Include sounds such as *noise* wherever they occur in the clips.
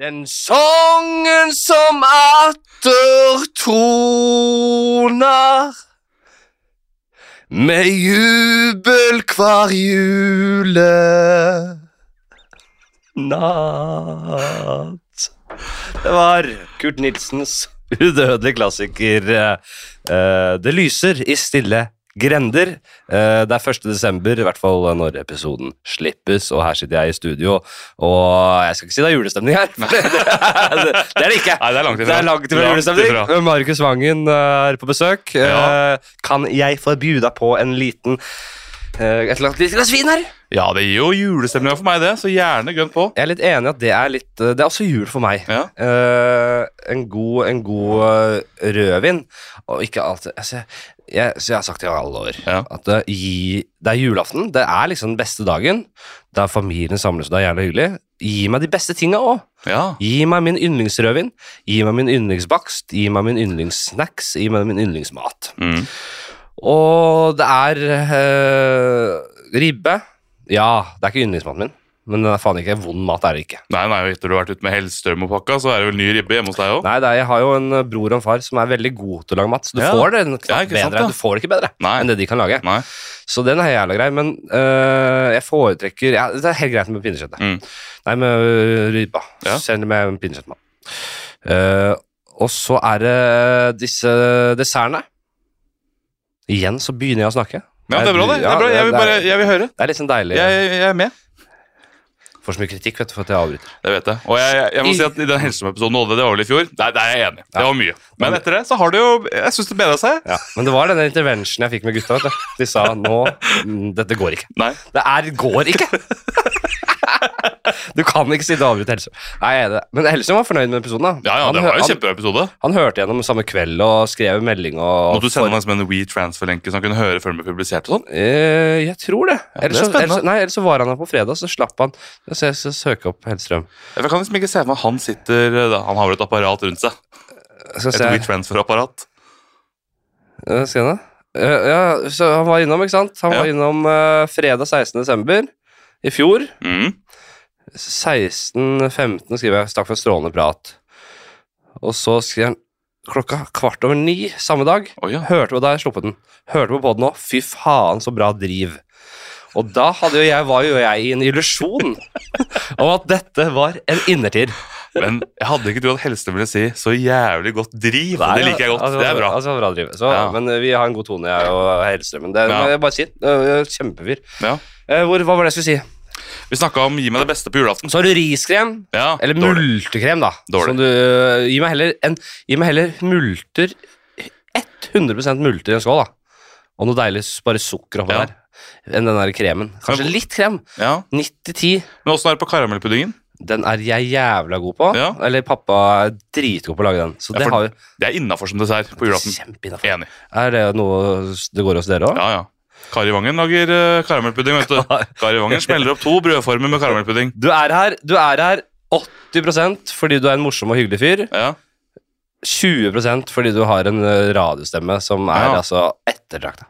Den sangen som atter troner med jubel hver jule natt. Det var Kurt Nilsens udødelige klassiker eh, Det lyser i stille grender. Eh, det er 1. desember, i hvert fall når episoden slippes, og her sitter jeg i studio, og jeg skal ikke si det er julestemning her. *laughs* for det, det er det ikke. Nei, det er langt ifra. Det er langt ifra julestemning. ifra. Markus Vangen er på besøk. Ja. Eh, Kan jeg få bjuda på en liten eh, et eller annet lite glass vin her? Ja, det gir jo julestemninga for meg, det. Så gjerne gønn på. Jeg er litt enig i at det er litt eh, Det er også jul for meg. Ja. Eh, en god, en god eh, rødvin, og ikke alltid altså, jeg, Så jeg har sagt i alle år Ja. at det, gi, det er julaften. Det er liksom den beste dagen. Da familien samles, og det er gjerne hyggelig. Gi meg de beste tinga òg. Ja. Gi meg min yndlingsrødvin, gi meg min yndlingsbakst, gi meg min yndlingssnacks, gi meg min yndlingsmat. Mm. Og det er eh, ribbe. Ja, det er ikke yndlingsmaten min, men den er faen ikke vond mat. er det ikke. Nei, nei, og etter du har vært ute med Hellstrøm og pakka, så er det vel ny ribbe hjemme hos deg òg? Nei, det er, Jeg har jo en eh, bror og en far som er veldig god til å lage mat, så du Ja. får det knapt Ja, ikke sant, bedre. da? du får det ikke bedre Nei. enn det de kan lage. Nei. Så den er jævla grei, men øh, jeg foretrekker ja, Det er helt greit med pinnekjøttet. Mm. Nei, med øh, ribba. Ja. Selv om jeg er en pinnekjøttmann. Eh, og så er det disse dessertene. Igjen så begynner jeg å snakke. Ja, det er bra, det. det er bra. Jeg vil bare, jeg vil høre. Det er litt sånn deilig. Jeg, jeg er med. Får så mye kritikk vet du, for at jeg avbryter. Det vet jeg. Og jeg, jeg, jeg må si at i den Hellstrøm-episoden du hadde, det var vel i fjor? Nei, det er jeg enig i. Det var mye. Men etter det så har det jo Jeg syns det bedra seg. Ja. Men det var denne interventionen jeg fikk med gutta. Vet du. De sa nå mm, Dette går ikke. Nei. Det er går ikke! Du kan ikke si det avbryter Hellstrøm. Nei, jeg er det. Men Hellstrøm var fornøyd med episoden. da. Ja, ja, Han det hø- var jo han- en kjempebra episode. Han hørte gjennom samme kveld og skrev en melding og Måtte du sende meg som en WeTransfer-lenke, så han kunne høre før den ble publisert og sånn? Eh, jeg tror det. det er ellers, så, spennende. ellers, nei, ellers så var han her på fredag, så slapp han å se- se- søke opp Hellstrøm. Jeg kan liksom ikke se for meg at han sitter eh, da, Han har vel et apparat rundt seg. Skal Et se WeTransfer-apparat. Eh, Skal jeg da? Eh, ja, så han var innom, ikke sant? Han Ja. var innom eh, fredag 16. desember i fjor. Mm. 16.15 skriver jeg. Takk for en strålende prat. Og så skriver han klokka kvart over ni samme dag. Oi, ja. Hørte på da jeg sluppet den. Hørte på podden nå. Fy faen, så bra driv. Og da hadde jo jeg, var jo jeg i en *laughs* illusjon om at dette var en innertier. Men jeg hadde ikke trodd at Helstø ville si 'så jævlig godt driv'. og det liker jeg godt. Altså, det er bra. Altså, bra driv. Så, Ja. Men vi har en god tone, jeg og Hellstrømmen. Det Ja. må jeg bare si. Eh, Kjempefyr. Ja. Eh, Hvor, hva var det jeg skulle si? Vi snakka om 'gi meg det beste på julaften'. Så har du riskrem. Ja, Eller dårlig. multekrem, da. Dårlig. Som du, eh, gi, meg heller en, gi meg heller multer 100 multer i en skål, da. Og noe deilig s- bare sukker oppå Ja. der. Enn den der kremen. Kanskje Men- litt krem. Ja. 90-10. Men åssen er det på karamellpuddingen? Den er jeg jævla god på. Ja. Eller pappa er dritgod på å lage den. Så Ja, det for- har Det er innafor som dessert på jo julaften. kjempeinnafor. Enig. Er det noe s- det går hos dere òg? Ja, ja. Kari Vangen lager eh, karamellpudding, *laughs* vet du. Kari Vangen smeller opp to brødformer med karamellpudding. Du er her Du er her 80 fordi du er en morsom og hyggelig fyr. Ja. 20 fordi du har en eh, radiostemme som er Ja. altså ettertrakta.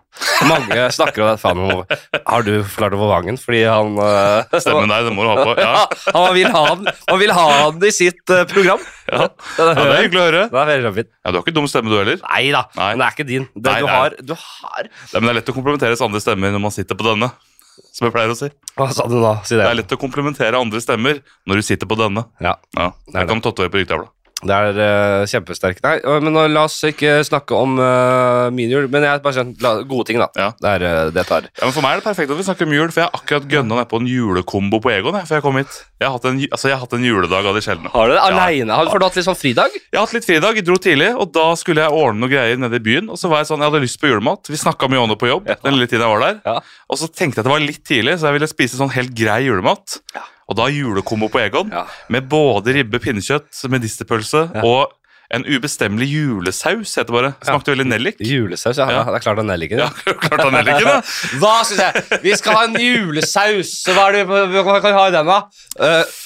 Mange snakker om det. Faen, nå- har du klart å få Vangen? Fordi han *laughs* eh, Stemmen der, det må du ha på. Ja. Ja, *laughs* han vil ha den, han vil ha den i sitt eh, program. *laughs* Ja. ja, Det er hyggelig å høre. Det er veldig fint. Ja, Du har ikke dum stemme, du heller. Nei da, Nei. men det er ikke din. Det, Nei, du, nei. har, du har Nei, men det er lett å komplementeres andre stemmer når man sitter på denne. Som jeg pleier å si. Hva sa du nå? Si det. Det er lett å komplementere andre stemmer når du sitter på denne. Ja, Ja, er Jeg kan tatovere på ryggtavla. det er eh, kjempesterkt. Nei, øh, men nå, la oss ikke snakke om eh, min jul, men jeg har bare skjønt la- gode ting, da. Ja. Det er eh, det jeg tar. Ja, men For meg er det perfekt at vi snakker om jul, for jeg har akkurat gønna ned på en julekombo på Egon. Jeg, før jeg kom hit. Jeg har hatt en, ju- altså, jeg har hatt en juledag av de sjeldne. Har du det? Ja. Aleine? Har du hatt litt sånn fridag? Jeg har hatt litt fridag, jeg dro tidlig, og da skulle jeg ordne noen greier nede i byen. Og så var jeg sånn, jeg hadde lyst på julemat. Vi snakka mye om det på jobb. den lille tiden jeg var der. Ja. Og så tenkte jeg at det var litt tidlig, så jeg ville spise sånn helt grei julemat. Ja. Og da julekombo på Egon, Ja. med både ribbe, pinnekjøtt, medisterpølse Ja. og en ubestemmelig julesaus, heter det bare. Smakte veldig nellik. Julesaus, ja. Ja. Det er klart han er *laughs* liggende. Ja, klart han nelliken, da. Hva syns jeg? Vi skal ha en julesaus, så hva er det vi hva kan vi ha i den, da? Eh,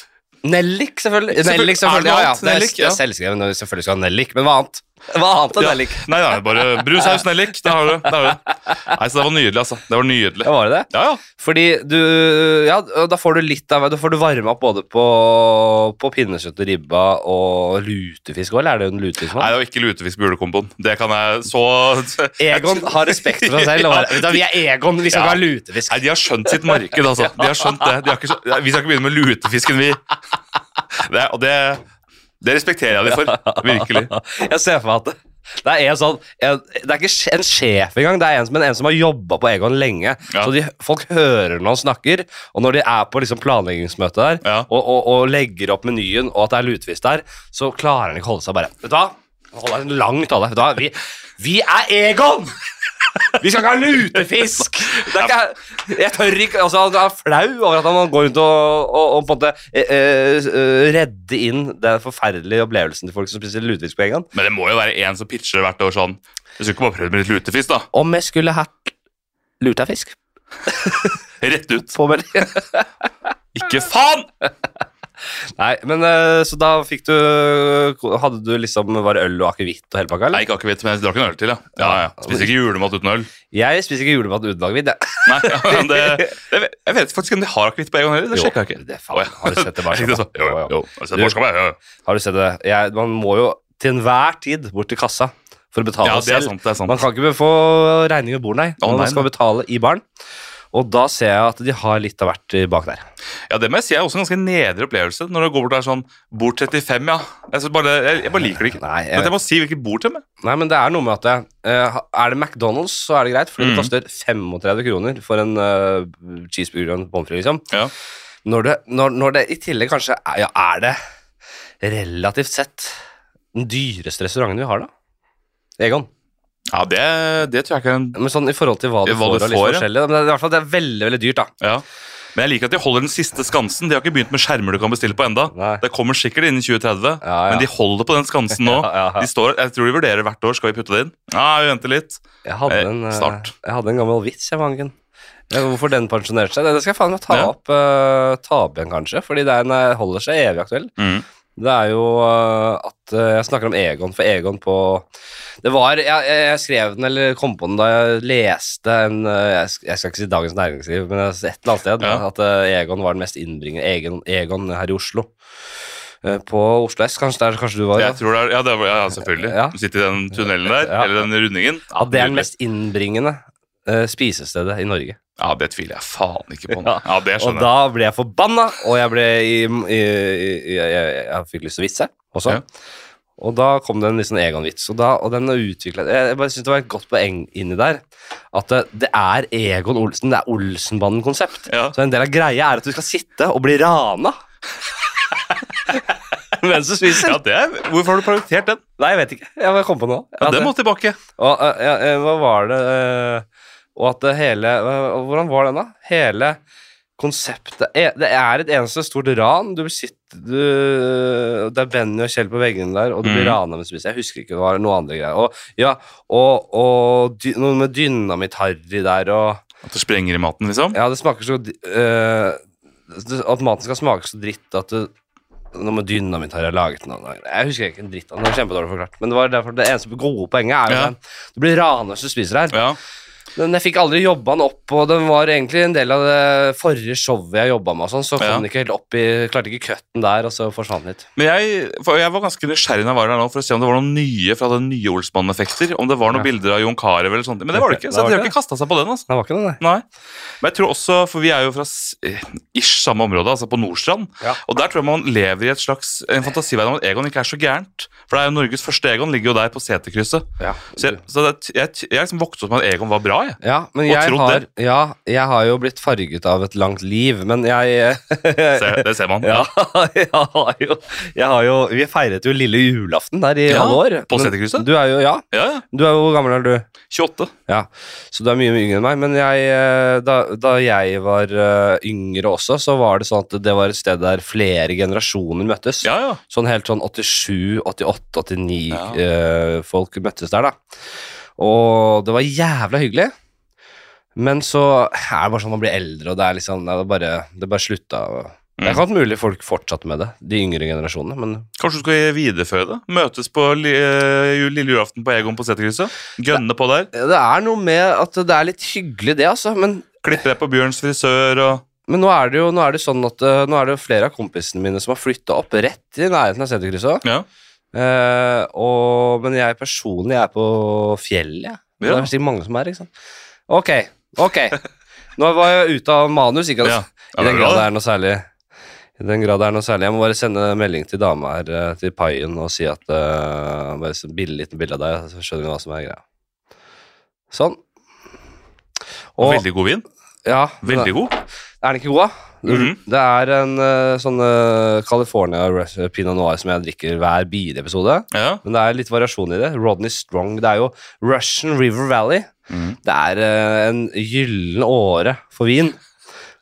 Nellik, selvfølgelig. Selvfølgelig- Nellik, er det selvfølgelig. noe Ja, ja. annet? Det er, Nellik, det ja. er selvskrevet når vi selvfølgelig skal ha nellik, men hva annet? Hva annet enn Ja. nellik? Nei, nei, bare brun saus nellik. Der har du det. der har du det. Nei, så det var nydelig, altså. Det var nydelig. Ja, var det det? Ja, ja. Fordi du Ja, og da får du litt av Da får du varme opp både på, på pinnekjøtt og ribba og lutefisk òg, eller er det en lutefisk? Nei, man? det var ikke lutefisk med julekomboen. Det kan jeg så Egon har respekt for seg selv. *laughs* og bare, Vet du, vi er Egon, vi skal Ja. ikke ha lutefisk. Nei, de har skjønt sitt marked, altså. De har skjønt det. De har ikke skjønt... Nei, Vi skal ikke begynne med lutefisken, vi. Det, og det, det respekterer jeg de for. Virkelig. Jeg ser for meg at det, det er en sånn en, Det er ikke sj- en sjef engang, det er en, som- men en som har jobba på Egon lenge. Ja. Så de, folk hører når han snakker, og når de er på liksom planleggingsmøte der Ja. og, og, og legger opp menyen, og at det er lutefisk der, så klarer han ikke å holde seg bare Vet du hva? Han holder seg langt av deg. Vet du hva? Vi, vi er Egon! *laughs* Vi skal ikke ha lutefisk! Det er ikke, jeg tør ikke altså, Han er flau over at han går rundt og, og, og på en måte eh, eh, eh, redde inn den forferdelige opplevelsen til folk som spiser lutefisk på Egon. Men det må jo være en som pitcher hvert år sånn Du skulle ikke bare prøvd med litt lutefisk, da. Om jeg skulle hatt lutefisk Rett ut. på *laughs* meldingen Ikke faen! Nei, men eh, så da fikk du Hadde du liksom Var det øl og akevitt og hele pakka, Nei, eller? ikke akevitt, men jeg drakk en øl til, ja. ja, ja. Spiser ikke julemat uten øl. Jeg spiser ikke julemat uten akevitt, jeg. Nei, *laughs* ja, men det, det, Jeg vet faktisk ikke om de har akevitt på Egon heller. Det Jo, sjekka jeg ikke. det faen, har du sett det bare Tenkte jeg sånn? sånn, *laughs* Jo, jo, Jo, jo. Har du sett barskapet? Ja, ja. Har du sett det? Jeg, man må jo til enhver tid bort til kassa for å betale ja, det er selv. sant. det er Man kan sant. ikke få regning ved bord, nei. Å, Man nei, skal nei. betale i baren. Og da ser jeg at de har litt av hvert i bak der. Ja, Det må jeg si er også en ganske nedre opplevelse når du går bort der sånn Bord 35, ja. Jeg, synes bare, jeg, jeg bare liker det ikke. Nei, Men jeg, jeg må si hvilket bord til meg. nei men det er noe med at det, eh, Er det McDonald's, så er det greit, fordi Mm. det koster 35 kroner for en eh, cheeseburger og en pommes frites, liksom. Ja. Når det, når, når det i tillegg kanskje er, ja, er det relativt sett den dyreste restauranten vi har, da? Egon. Ja, det, det tror jeg ikke er en Men sånn i forhold til hva du Hva får, du og litt får, ja. forskjellig. Men det er, i hvert fall, det er veldig, veldig dyrt, da. ja. Men jeg liker at de holder den siste skansen. De har ikke begynt med skjermer du kan bestille på enda. Nei. Det kommer sikkert innen 2030, Ja, ja. men de holder på den skansen *laughs* nå. Ja, ja, ja. De står, jeg tror de vurderer hvert år. Skal vi putte det inn? Ja, vi venter litt. Jeg hadde, Eh, en, eh, snart. jeg hadde en gammel vits, jeg, Vangen. Eh, Hvorfor den pensjonerte seg? Det skal jeg faen meg ta Ja. opp eh, ta opp igjen, kanskje. Fordi den eh, holder seg evig aktuell. Mm. Det er jo eh, at eh, Jeg snakker om Egon, for Egon på Det var Jeg, jeg, jeg skrev den, eller kom på den da jeg leste en eh, Jeg, sk- jeg skal ikke si Dagens Næringsliv, men et eller annet sted. Ja. At eh, Egon var den mest innbringende Egon, Egon her i Oslo. Eh, På Oslo S, kanskje, der, kanskje du var? Jeg tror det er, ja, det er, ja, selvfølgelig. Ja. Du sitter i den tunnelen der, Ja. eller den rundingen. Ja, det er den mest innbringende eh, spisestedet i Norge. Ja, det tviler jeg faen ikke på. nå. Ja. Ja, det Og skjønner jeg. da ble jeg forbanna, og jeg ble i, i, i, i jeg, jeg, jeg fikk lyst til å vitse også. Ja. Og da kom det en litt sånn Egon-vits, og, da- og den utvikla Jeg jeg bare synes det var et godt poeng inni der. At det, det er Egon Olsen, det er Olsenbanden-konsept. Ja. Så en del av greia er at du skal sitte og bli *laughs* rana mens du spiser. Ja, det er, hvorfor har du prioritert den? Nei, jeg vet ikke. Jeg bare kom på noe. Ja, At- den må tilbake. og, eh, ja, eh, hva var det eh, Og at det hele eh, Hvordan var den, da? Hele konseptet eh, Det er et eneste stort ran. Du sitter du, Det er Benny og Kjell på veggene der, og du blir Mhm. rana mens du spiser. Jeg husker ikke, det var noe andre greier. Og, ja, og, og dy, noe med dynamitt-harry der, og At det sprenger i maten, liksom. Ja, det smaker så di- eh, det- At maten skal smake så dritt at det noe med dynamitt har jeg laget noe. noe- Jeg husker ikke en dritt av det. det. var Kjempedårlig forklart. Men det var derfor det eneste gode poenget er jo Ja. den. Du blir rana hvis du spiser her. Ja. Men jeg fikk aldri jobba den opp, og den var egentlig en del av det forrige showet jeg jobba med. og sånn, Så kom Ja. den ikke helt opp i Klarte ikke cutten der, og så forsvant den litt. Men jeg, for jeg var ganske nysgjerrig når jeg var der nå, for å se om det var noen nye fra den nye Olsmann-effekter. Om det var noen Ja. bilder av Jon Carew eller sånt. Men det var det Det ikke. Så var de har ikke ikke kasta seg på den. altså. Den var ikke det, nei. Nei. Men jeg tror også, for vi er jo fra s- eh, ish samme område, altså på Nordstrand. Ja. Og der tror jeg man lever i et slags, en fantasiverden om at Egon ikke er så gærent. For det er jo Norges første Egon ligger jo der på seterkrysset. Ja. Så jeg, så det, jeg, jeg liksom vokste opp med at Egon var bra, jeg. Ja, men Og jeg trodd har, det. ja, jeg har jo blitt farget av et langt liv, men jeg eh, Se, det *laughs* ser man. Ja, *laughs* jeg har jo, jeg har jo Vi feiret jo lille julaften der i Ja, alle år. på Men Seterkrysset? Du er jo, ja. Ja, ja. Du er jo hvor gammel er du? 28. Ja, så du er mye yngre enn meg, men jeg, eh, da, da jeg var eh, yngre også, så var det sånn at det var et sted der flere generasjoner møttes. Ja, ja. Sånn helt sånn 87, 88, 89 Ja. eh, folk møttes der da. Og det var jævla hyggelig. Men så er det bare sånn man blir eldre, og det er liksom, nei, det bare, det bare slutta. å- Det er ikke at mulig folk fortsatte med det, de yngre generasjonene, men Kanskje du skal videreføre det? Møtes på li, eh, jul- lille julaften på Egon på Seterkrysset? Gønne på der? det er noe med at det er litt hyggelig, det, altså. Men, Klippe deg på Bjørns frisør og men nå er det jo nå er det sånn at eh, Nå er det jo flere av kompisene mine som har flytta opp rett i nærheten av Seterkrysset. Ja. Eh, og- men jeg personlig er på fjellet, jeg. Det Ja. er sikkert mange som er, ikke sant. Ok, ok. Nå var jeg ute av manus, ikke Ja. sant. Ja, I det den er grad det bra, det. er noe særlig. I den grad det er noe særlig. Jeg må bare sende en melding til dama her, eh, til paien, og si at eh, Bare send bilde, liten bilde av deg, så skjønner hun hva som er greia. Sånn. Og, Og veldig god vin. ja, Veldig god. Er den ikke god, da? Mhm. Det er en eh, sånn eh, California Res- Pinot Noir som jeg drikker hver bilepisode. Ja. Men det er litt variasjon i det. Rodney Strong. Det er jo Russian River Valley. Mhm. Det er eh, en gyllen åre for vin.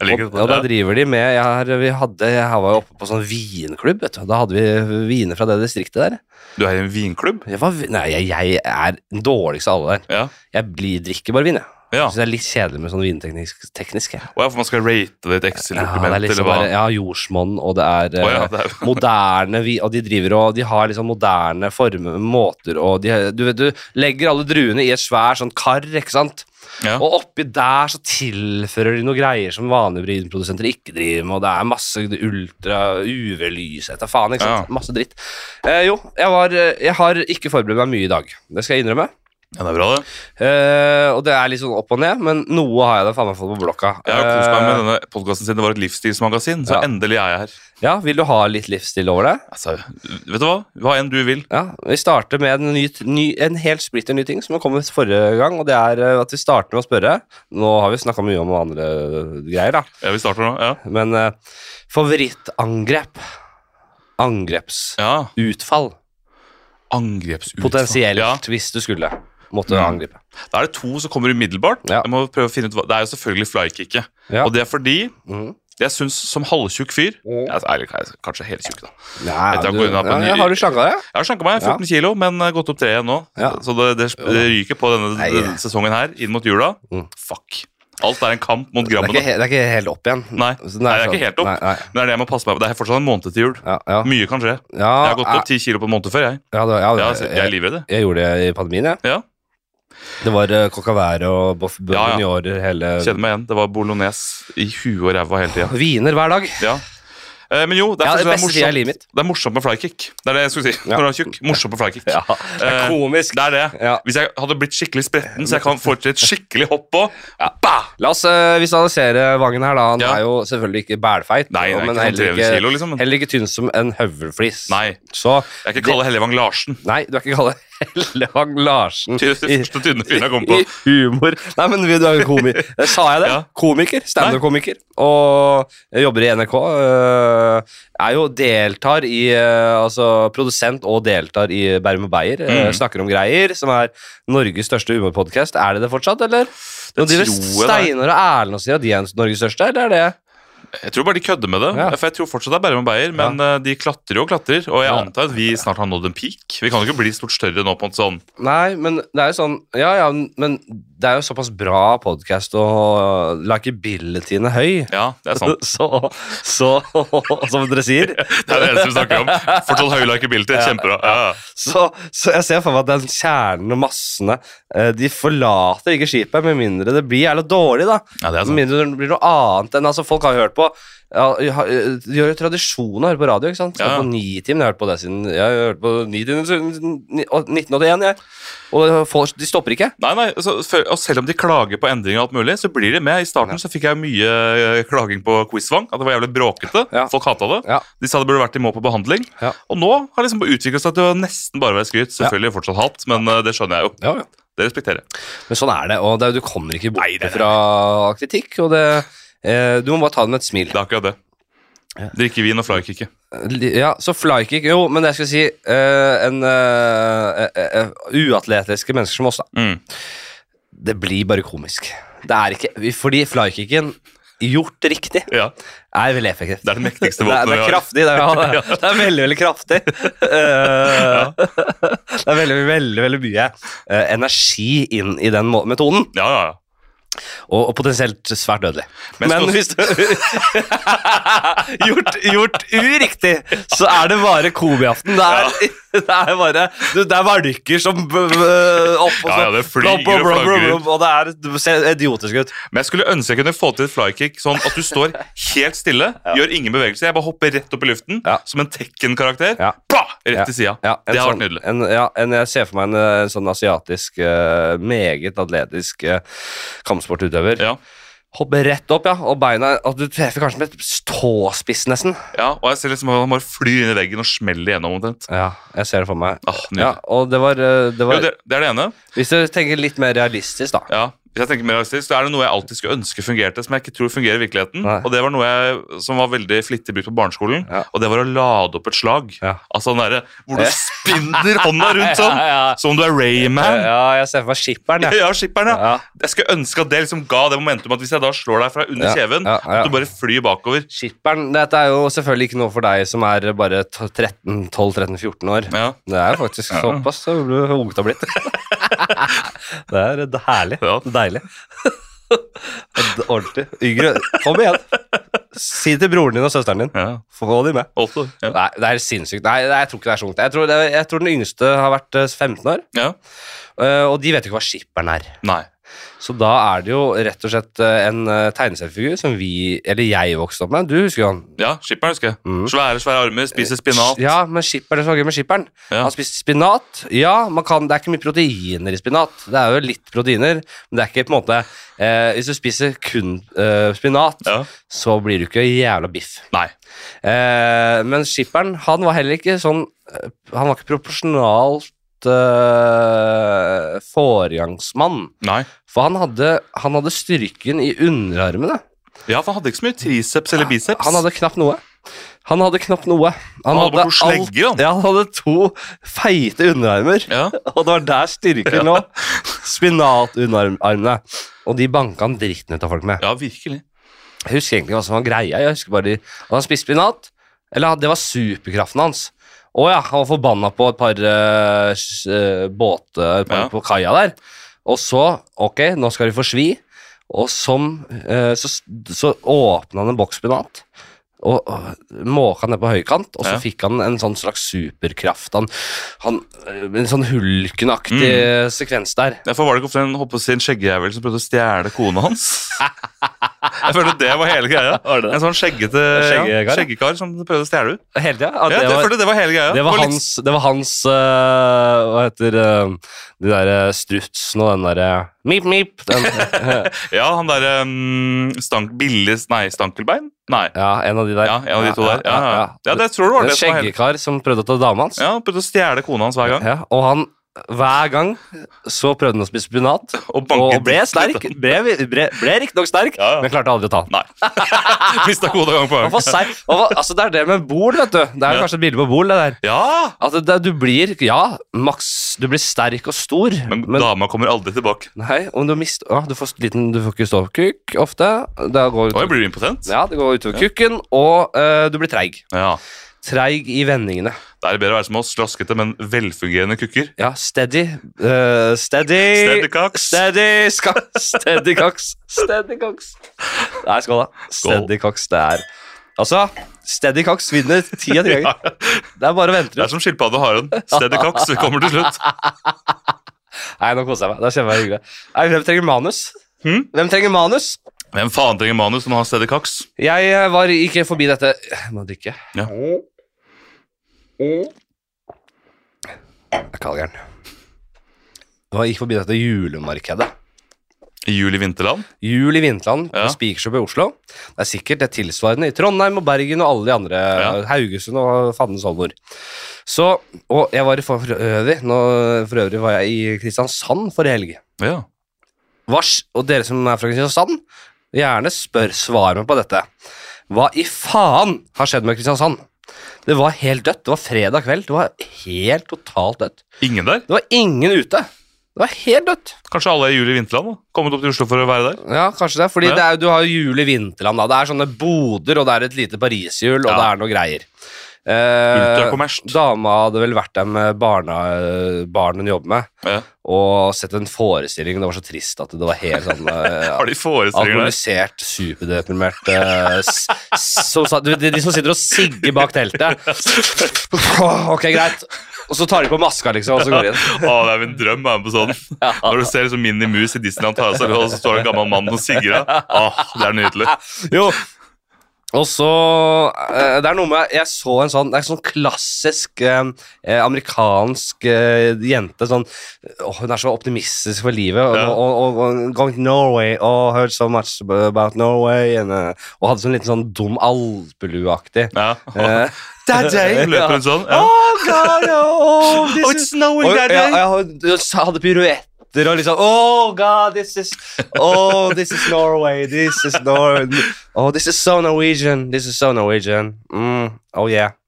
Jeg liker Og, og da det. driver de med jeg, har- vi hadde, jeg var jo oppe på sånn vinklubb, vet du. Da hadde vi viner fra det distriktet der. Du er i en vinklubb? Jeg var, nei, jeg, jeg er den dårligste av alle der. Ja. Jeg blir, drikker bare vin, jeg. ja. Syns det er litt kjedelig med sånn vinteknisk. Teknisk, jeg. Og ja, for man skal rate ditt Ja, det Excel-dokument, er liksom eller hva? bare, ja, jordsmonn, og det er Å eh, ja, det er, *laughs* moderne vi, Og de driver og de har liksom moderne former, måter og de, du, vet, du legger alle druene i et svært sånn kar, ikke sant? Ja. Og oppi der så tilfører de noen greier som vanlige vinprodusenter ikke driver med, og det er masse ultra UV-lys etter faen, ikke sant? Ja. Masse dritt. Eh, jo, jeg, var, eh, jeg har ikke forberedt meg mye i dag. Det skal jeg innrømme. ja, det er bra, det. Eh, og det er litt sånn opp og ned, men noe har jeg da faen meg fått på blokka. Jeg har kost meg Eh, med denne podkasten siden det var et livsstilsmagasin, så Ja. endelig er jeg her. ja, vil du ha litt livsstil over deg? Altså, vet du hva? Hva enn du vil. Ja, Vi starter med en, ny, ny, en helt splitter ny ting som har kommet forrige gang. Og det er eh, at vi starter med å spørre. Nå har vi snakka mye om andre eh, greier, da. Ja, vi starter nå. Ja. Men eh, favorittangrep. Angrepsutfall. ja. Angrepsutfall. Potensielt, Ja. Mm. hvis du skulle måtte Ja. angripe. Da er det to som kommer umiddelbart. Ja. Jeg må prøve å finne ut hva. Det er jo selvfølgelig flykicket. Ja. Og det er fordi Mhm. jeg syns som halvtjukk fyr Mhm. ja, Eller kanskje heltjukk, da. Nei, Dette du, går unna på ja, en ny- ja, har du slanka deg? Jeg har slanka meg 14 kilo, men eh, gått opp tre igjen nå. Ja. Så det, det, det ryker på denne, Nei. denne sesongen her, inn mot jula. Mm. Fuck. Alt er en kamp mot Det er, ikke, grammene. he- det er ikke helt opp igjen. Nei, Så nei, det er ikke helt opp. Nei, nei. Men det er det jeg må passe meg på. Det er fortsatt en måned til jul. Ja, ja. Mye kan skje. Ja, Jeg har gått opp ti kilo på en måned før, jeg. ja, det- ja, Ja, det- så jeg er livredd, jeg. jeg gjorde det i pandemien, jeg. Ja. Det var uh, Cocavere og Boff Ja, ja. Buniorer hele Kjenner meg igjen. Det var bolognese i huet og ræva hele tida. Viner hver dag. Ja. Eh, Men jo, det Ja, er, det det, er beste tida i morsomt, livet mitt. det er morsomt med flykick. Det er det jeg skulle si. Ja. Når du er tjukk. Morsomt med flykick. Det er Eh, komisk. Det er det. Ja. Hvis jeg hadde blitt skikkelig spretten, så jeg kan få til et skikkelig hopp på bah! La oss eh, visualisere Vangen her, da. Han Ja. er jo selvfølgelig ikke bælfeit, Nei, nei, men ikke sånn heller 300 ikke, kilo, liksom. heller ikke tynn som en høvelflis. Nei. Så Jeg er ikke Kalle Hellevang Larsen. Nei, du er ikke Kalle *laughs* Hellevang Larsen Det er det første tynne fyren jeg kom på. i humor. Nei, men vi- du er jo *laughs* komi... Eh, Sa jeg det? Ja. Komiker. Standup-komiker. Og jeg jobber i NRK. øh, er jo deltar i øh, Altså produsent og deltar i Bærum og Beyer. øh, Mm. Snakker om greier, som er Norges største humorpodkast. Er det det fortsatt, eller? Nå driver tror jeg det er. Steinar og Erlend og sier at de er Norges største, eller er det Jeg tror bare de kødder med det. Ja. For jeg tror fortsatt det er Bærum og Beyer, men eh, de klatrer og klatrer. Og jeg Ja. antar at vi snart har nådd en peak. Vi kan jo ikke bli stort større nå på en sånn Nei, men det er jo sånn Ja, ja, men det er jo såpass bra podkast, og likabilityen er høy. Ja, det er sant. *laughs* Så, så Som dere sier. Det er det eneste vi snakker om. Fortsatt høy likability. Kjempebra. Ja. Så, så jeg ser for meg at den kjernen og massene eh, De forlater ikke skipet, med mindre det blir jævla dårlig, da. Ja, det er sånn Med sant. mindre det blir noe annet enn Altså, folk har hørt på ja, ha- De gjør jo tradisjon av å høre på radio, ikke sant? Så Ja. På Nitimen, jeg har hørt på det siden Jeg har hørt på Nitimen siden ni- å, 1981, jeg. Og folk, de stopper ikke. Nei, nei, så, for, og Selv om de klager på endringer, og alt mulig, så blir de med. I starten så fikk jeg mye eh, klaging på Quizvang. At det var jævlig bråkete. Ja. Folk hata det. Ja. De sa det burde vært i må på behandling. Ja. Og nå har det liksom utviklet seg til å nesten bare være skryt. Selvfølgelig fortsatt hat, men eh, det skjønner jeg jo. Ja, ja. Det respekterer jeg. Men sånn er det, og det, er- du kommer ikke bort Nei, det er det. fra kritikk. Og det, eh, du må bare ta det med et smil. Det er akkurat det. Drikke vin og flykick. Ja, så flykick Jo, men jeg skal si eh, en, eh, eh, eh, Uatletiske mennesker som oss, da. Mm. Det blir bare komisk. Det er ikke Fordi flykicken gjort riktig Ja, er veldig effektivt. Det er det mektigste Det er, våpenet det vi er har. kraftig. Det *laughs* er, ja, det, er, det er veldig, veldig kraftig. Eh, *laughs* det er veldig, veldig, veldig mye eh, energi inn i den må- metoden. Ja, ja, ja. Og, og potensielt svært dødelig. Men Men, skal- hvis du *laughs* gjort, gjort uriktig, så er det bare komiaften. Det er, *laughs* det er bare du, Det er valker som b- b- opp og så Ja, ja, det flyr blom, blom, og blom, blom, flagrer. blom, Og det er du ser idiotisk ut. Men jeg skulle ønske jeg kunne få til et flykick sånn at du står helt stille, *laughs* gjør ingen bevegelse, jeg bare hopper rett opp i luften Ja. som en Tekken-karakter. Ja. Pah! Rett til sida. Ja, en det har sånn- vært nydelig. En, ja, en, jeg ser for meg en, eh, sånn asiatisk, eh, meget atletisk eh, kampsportutøver. Ja. Hopper rett opp, ja, og beina og Du treffer kanskje med tåspiss, nesten. ja, Og jeg ser liksom at han bare flyr inn i veggen og smeller igjennom omtrent. Ja, jeg ser det for meg. Ah, nydelig. Ja, og det var, eh, det var Jo, det, det er det ene. Hvis du tenker litt mer realistisk, da. Ja, hvis jeg tenker mer realistisk, så er det noe jeg alltid skulle ønske fungerte, som jeg ikke tror fungerer i virkeligheten. Nei. Og det var noe jeg, som var veldig flittig brukt på barneskolen, Ja. og det var å lade opp et slag. Ja. Altså den derre hvor du spinner *laughs* hånda rundt sånn, Ja, ja. som om du er Rayman. Eh, Ja, jeg ser for meg skipperen, jeg. *laughs* Ja, skipperen, ja. Ja. Jeg skulle ønske at det liksom ga det momentum at hvis jeg da slår deg fra under Ja, kjeven, ja, ja. at du bare flyr bakover. Skipperen, Dette er jo selvfølgelig ikke noe for deg som er bare 12-13-14 år. Ja, Det er faktisk såpass så du ungt har blitt. *laughs* det er d- herlig. Ja. Deilig. D- Ordentlig. Yngre. Kom igjen. Si til broren din og søsteren din. ja. Få de med. Åtte. Ja. Nei, det er sinnssykt. Nei, nei, jeg tror ikke det er så ungt. Jeg tror, det, jeg tror den yngste har vært eh, 15 år, ja. eh, og de vet jo ikke hva skipperen er. Nei. Så da er det jo rett og slett eh, en eh, tegneseriefigur som vi, eller jeg vokste opp med. Du husker jo han. Ja, skipperen husker jeg. Svære, svære armer, spiser spinat. Ja, men skipper, det er så gøy med skipperen. Ja. Han spiste spinat. Ja, man kan, det er ikke mye proteiner i spinat. Det er jo litt proteiner, men det er ikke på en måte eh, Hvis du spiser kun eh, spinat, Ja. så blir du ikke jævla biff. Nei. Eh, men skipperen, han var heller ikke sånn eh, Han var ikke proporsjonalt eh, foregangsmann. Nei. For han hadde, han hadde styrken i underarmene. Ja, for han hadde ikke så mye triceps eller biceps. Han hadde knapt noe. Han hadde knapt noe. Han hadde bare to alt- slegger, han. ja, han hadde to feite underarmer, Ja. og det var der styrken lå. Spinatundarmene. Og de banka han dritten ut av folk med. Ja, virkelig. Jeg husker egentlig ikke hva som var greia. Jeg husker bare de, at han spiste spinat. Eller det var superkraften hans. Å ja, han var forbanna på et par eh, s- eh, båter på, Ja. på kaia der. Og så, ok, nå skal de få svi. Og som, eh, så, så åpna han en boks spinat. Og, og måka ned på høykant, og så Ja. fikk han en sånn slags superkraft. Han, han, en sånn hulkenaktig Mm. sekvens der. Derfor var det ikke ofte en hoppet sin skjeggejævel som prøvde å stjele kona *laughs* hans. Jeg følte det var hele greia. En sånn skjeggete Skjeggekar, ja. ja, skjeggekar som prøvde å stjele henne. Hele tida? Ja, det, var, det var hele greia. Det var litt- hans, det var hans øh, Hva heter øh, de der øh, strutsen og den derre Mip, mip. Den, *laughs* Ja, han derre um, stank, Billis Nei, Stankelbein? Nei. ja, en av de der. Ja, en av de to der. Ja, ja, ja. ja det tror du var En det som var hele skjeggekar som prøvde å ta dama hans. Ja, han prøvde å stjele kona hans hver gang. Ja, og han hver gang så prøvde han å spise spinat, Og og, banket ble litt. sterk. Ble, ble, ble riktignok sterk, Ja, ja. men klarte aldri å ta den. Nei. *laughs* Mista kona gang på Han var gang. serk. Han var- Altså, det er det med bol, vet du. Det er Ja. kanskje et bilde på bol, det der. Ja! At det, du blir, ja, maks Du blir sterk og stor, Men, dama kommer aldri tilbake. Nei, om du mister ah, du, får liten, du får ikke ståkuk ofte. Da går ut, Oi, blir du impotent? ja, det går utover kukken, og eh, du blir treig. Ja. Treig i vendingene. Da er det bedre å være som oss, slaskete, men velfungerende kukker. Ja, steady. eh, steady. Steady cocks. Steady ska, *laughs* steady cocks. Steady cocks. Nei, skål, da. Steady cocks, det er Altså, steady cocks vinner ti *laughs* av ti ganger. Det er bare å vente. Det er som skilpadde og haren. Steady cocks, vi kommer til slutt. Nei, nå koser jeg meg. Da kjenner jeg meg hyggelig. Nei, hvem trenger manus? Hm? Hvem trenger manus? Hvem faen trenger manus når man har steady cocks? Jeg eh, var ikke forbi dette Jeg må drikke. Ja. Jeg er kaldgæren. Jeg gikk forbi dette julemarkedet. I juli Vinterland? Jul i Vinterland på Ja. Spikersjø i Oslo. Det er sikkert det tilsvarende i Trondheim og Bergen og alle de andre. Ja. Haugesund og fandens oldemor. Så Og jeg var i for for øvrig nå, For øvrig var jeg i Kristiansand forrige helg. Ja. Vars, og dere som er fra Kristiansand, gjerne spør svar meg på dette. Hva i faen har skjedd med Kristiansand? Det var helt dødt. Det var fredag kveld. Det var helt totalt dødt. Ingen der? Det var ingen ute. Det var helt dødt. Kanskje alle er i juli Vinterland? da? Kommet opp til Oslo for å være der? Ja, kanskje det. Fordi Ja. det er, du har jo jul i vinterland. Da. Det er sånne boder, og det er et lite pariserhjul, og Ja. det er noe greier. Eh, Eh, Ultrakommerst. Dama hadde vel vært der med barna, barn hun jobber med, Ja. og sett en forestilling. Det var så trist at det var helt sånn *laughs* eh, Har de forestillinger der? Alkoholisert, superdeprimert eh, s- s- som, sa- du, de, de som sitter og sigger bak teltet. Ok, greit. Og så tar de på maska, liksom, og så går de inn. Å, det er min drøm å være med på sånn. Når du ser liksom Minnie Mus i Disneyland ta av seg og så står det en gammel mann og sigger av. Åh, det er nydelig. Jo. Og så eh, Det er noe med Jeg så en sånn Det er en sånn klassisk eh, eh, amerikansk eh, jente sånn åh, Hun er så optimistisk for livet og, Ja. og, og, og Going to Norway oh, Heard so much about Norway and, eh, Og hadde sånn liten sånn dum alpelueaktig Ja. Eh, That *laughs* day! Løper hun sånn? Ja. Oh god, oh, this Oh, is- it's snowing og, that ja, day! jeg er hadde piruetter og liksom Oh god, this is Oh, this is Norway. This is Nor Oh, this is so Norwegian. This is so Norwegian. Mm, oh yeah.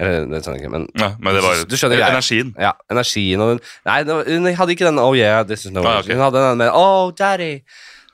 Eller, det skjønner jeg ikke, men Ja, men det var Du skjønner greia. energien. ja, energien og den Nei, det var- hun hadde ikke den Oh yeah, this is Norwegian. Ah, ok. Hun hadde den med Oh daddy,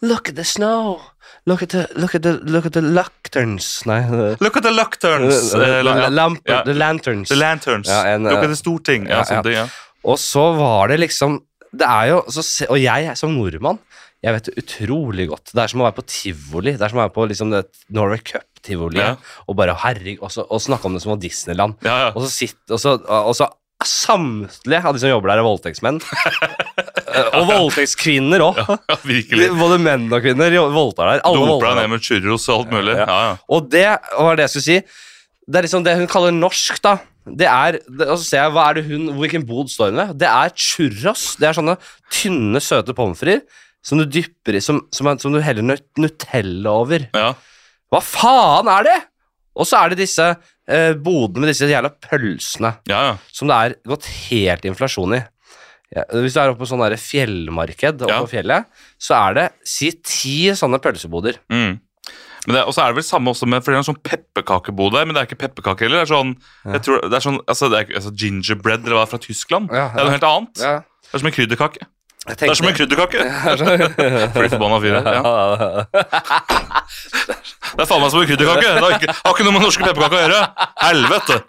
look at the snow. Look at the Look at the Look at the lanterns. Nei *laughs* the- Look at the lucterns. the- eh, la- the ja. lamp- Ja. The lanterns. The lanterns. Ja, en, Look eh, at the storting. Ja, ja, sånn ja. ting, ja. Og så var det liksom Det er jo så, se- Og jeg som nordmann, jeg vet det utrolig godt. Det er som å være på tivoli. Det er som å være på liksom det Norway Cup-tivoli Ja. og bare herregud Og, så- og snakke om det som om Disneyland. Ja, ja. Og så sitt- og så, og så samtlige av de som jobber der, er *laughs* voldtektsmenn. Eh, og voldtektskvinner òg. ja, *laughs* virkelig. Både menn og kvinner jo- voldtar der. Alle Dumper voldtar deg der. ned med churros og alt mulig. Ja, ja. Og det var det jeg skulle si. Det er liksom det hun kaller norsk, da. Det er, det, og så ser jeg, hva er det hun, Hvilken bod står hun ved? Det er churros. Det er sånne tynne, søte pommes frites som du dypper i, som, som, er- som du heller nut- Nutella over. ja. Hva faen er det?! Og så er det disse eh, bodene med disse jævla pølsene ja, ja. som det er gått helt inflasjon i. Ja, hvis du er oppe på sånn der fjellmarked oppe Ja. på fjellet, så er det si ti sånne pølseboder. Mm. Men det, og så er det vel samme også med, for det er en sånn pepperkakebod der, men det er ikke pepperkake heller. Det er sånn, jeg tror, det er sånn altså, det er, ikke- altså gingerbread eller hva det er fra Tyskland. Ja, Det er ja. noe helt annet. Ja, Det er som en krydderkake. jeg Det *laughs* er som en krydderkake! sånn- Fly forbanna fyr. Ja. Ja. Det er faen meg som en krydderkake! Det har ikke, har ikke noe med norske pepperkaker å gjøre! Helvete! *laughs*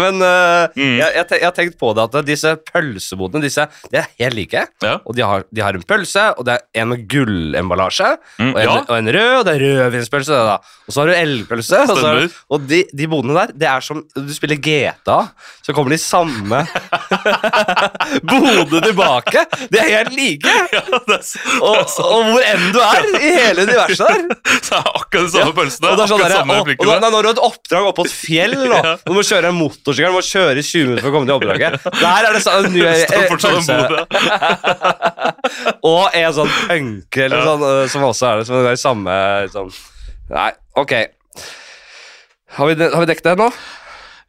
Men øh, Mm. jeg, jeg, tenk, jeg har tenkt på det at disse pølsebodene disse, de er helt like. Ja. Og de har, de har en pølse, og det er en med gullemballasje, Mm, og, en- ja. og en rød, og det er rødvinspølse. det da. Og så har du elgpølse. Og, så har, Stemmer. du- og de, de bodene der, det er som du spiller GTA, så kommer de samme *laughs* bodene tilbake. De er helt like. *laughs* Ja, det er, så- Og, og hvor enn du er i hele universet der. det er akkurat de samme pølsene. Og det er sånn akkurat der, og, samme og da, replikkene. da når du har et oppdrag opp på et fjell nå, Ja. Du må kjøre en motorsykkel, du må kjøre i 20 minutter for å komme til oppdraget Der er det sånn en ny Det *laughs* står eh, fortsatt en pølse. bod, ja. Og en sånn punker eller Ja. sånn, eh, Som også er det som er det samme sånn. Nei, ok Har vi, de- har vi dekket det nå?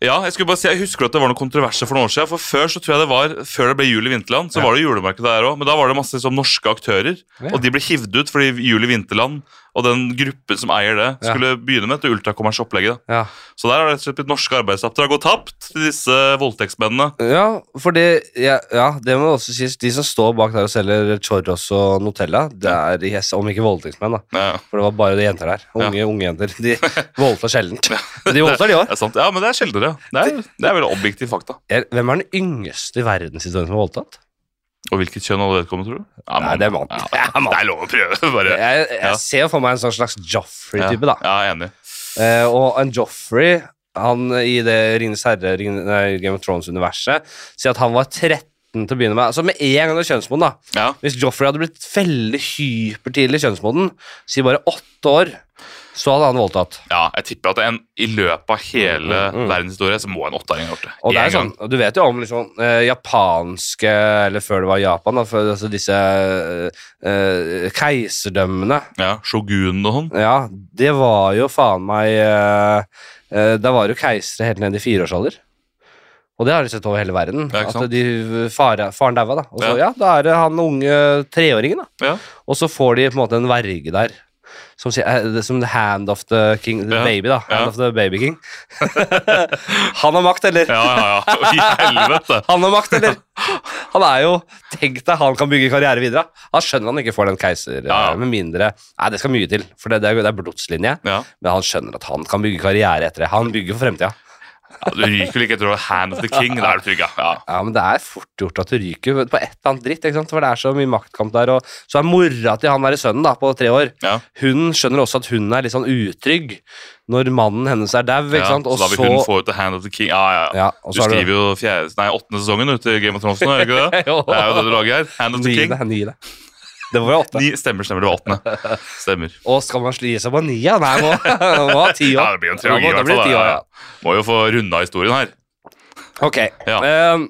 Ja, jeg skulle bare si, jeg husker at det var noen kontroverser for noen år siden. For Før så tror jeg det var, før det ble Jul i Vinterland, så var det julemarked der òg. Men da var det masse liksom, norske aktører, Ja. og de ble hivd ut fordi Jul i Vinterland og den gruppen som eier det, Ja. skulle begynne med et ultrakommersielt opplegg. da. Ja, Så der har det rett og slett blitt norske arbeidsoppdrag gått tapt til disse voldtektsmennene. ja for det, ja, ja, det må også sies De som står bak der og selger chorros og Nutella Det er, yes, om ikke voldtektsmenn da Ja, For det var bare de jenter der Unge, unge jenter *laughs* De voldtar sjeldent Men De voldtar de det også er sant. Ja, men det er sjeldnere. Det er, det er veldig objektiv fakta. Er- Hvem er den yngste i verdenshistorien som er voldtatt? Og hvilket kjønn alle vedkommende, tror du? Nei, Ja, mann. det er mann. *laughs* Ja, Det er mann. det er lov å prøve, *laughs* bare. Jeg, jeg Ja. ser for meg en sånn slags Joffrey-type, da. Ja, jeg er enig. Eh, og en Joffrey han i det Ringenes herre, Ring- nei, Game of Thrones-universet, sier at han var 13 til å begynne med. Altså med en gang du er kjønnsmoden, da. Ja. Hvis Joffrey hadde blitt veldig hypertidlig kjønnsmoden, si bare åtte år, så hadde han voldtatt. Ja, jeg tipper at en, i løpet av hele Mm, mm. verdenshistorien så må en åtteåring ha gjort det. Og det En er gang. sånn, og du vet jo om liksom, eh, japanske, eller før det var Japan, da, for, altså disse eh, eh, keiserdømmene Ja, Shogunen og sånn. Ja, det var jo faen meg eh, eh, Da var jo keisere helt ned i fireårsalder. Og det har de sett over hele verden. Ja, ikke at sant? de, eh, fare, faren daua, da. Og så, ja. Ja. da er det han unge treåringen, da. Ja. Og så får de på en måte en verge der. Som, sier, eh, det- som the hand of the king the Ja. baby, da. Hand Ja. of the baby king. *laughs* han har makt, eller? Ja, ja, *laughs* ja. I helvete. Han har makt, eller? Han er jo Tenk deg han kan bygge karriere videre. Han skjønner han ikke får den keiser, Ja. eh, med mindre Nei, det skal mye til, for det, det, er, det er blodslinje. Ja. Men han skjønner at han kan bygge karriere etter det. Han bygger for fremtida. Ja, du ryker vel ikke etter å ha Hand of the King. Da er du trygg, ja. ja. Ja, men det er fort gjort at du ryker på et eller annet dritt, ikke sant? for det er så mye maktkamp der. Og så er mora til han der sønnen da, på tre år, Ja. hun skjønner også at hun er litt sånn utrygg når mannen hennes er dau, ikke Ja, sant. så Og da vil så, hun få ut The Hand of the King. Ja, ja, ja. ja, og Du så skriver jo fjerde, nei, åttende sesongen ut til Game of Thrones nå, *laughs* gjør du ikke det? Det er jo det du lager her. Hand of the King. Niende, niende. Det var jo åtte. Ni, stemmer, stemmer. Det var *laughs* åttende. Stemmer. Og skal man sli seg på nia? Nei, må, *laughs* må ha ti Ja, år. det blir jo en trilogi, Ja, i da hvert blir det fall. ti Ja, år, ja. Må jo få runda historien her. Ok. Ja. Ehm,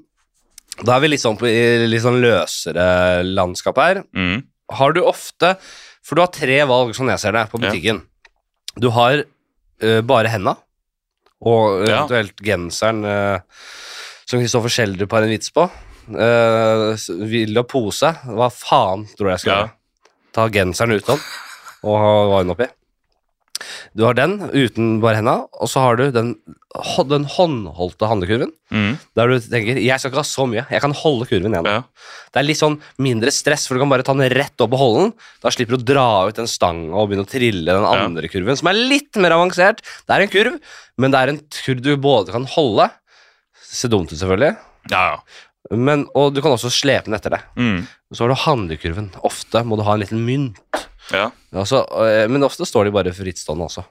da er vi litt sånn på i litt sånn løsere landskap her. Mm. Har du ofte For du har tre valg, sånn jeg ser det, på Ja. butikken. Du har eh, bare henda, og Ja. eventuelt genseren eh, som Kristoffer Schjelderup har en vits på. Eh, s- vil ha pose. Hva faen tror jeg jeg skal Ja. gjøre? Ta genseren utenom og ha varen oppi. Du har den uten bare henda, og så har du den, hå- den håndholdte handlekurven. Mm. Der du tenker 'jeg skal ikke ha så mye, jeg kan holde kurven igjen'. Ja. Det er litt sånn mindre stress, for du kan bare ta den rett opp og holde den. Da slipper du å dra ut en stang og begynne å trille den Ja. andre kurven, som er litt mer avansert. Det er en kurv, men det er en kurv du både kan holde Ser dumt ut, selvfølgelig, ja, ja. men, og du kan også slepe den etter deg. Mm. Så har du handlekurven. Ofte må du ha en liten mynt. ja. Altså, øh, men ofte står de bare frittstående også.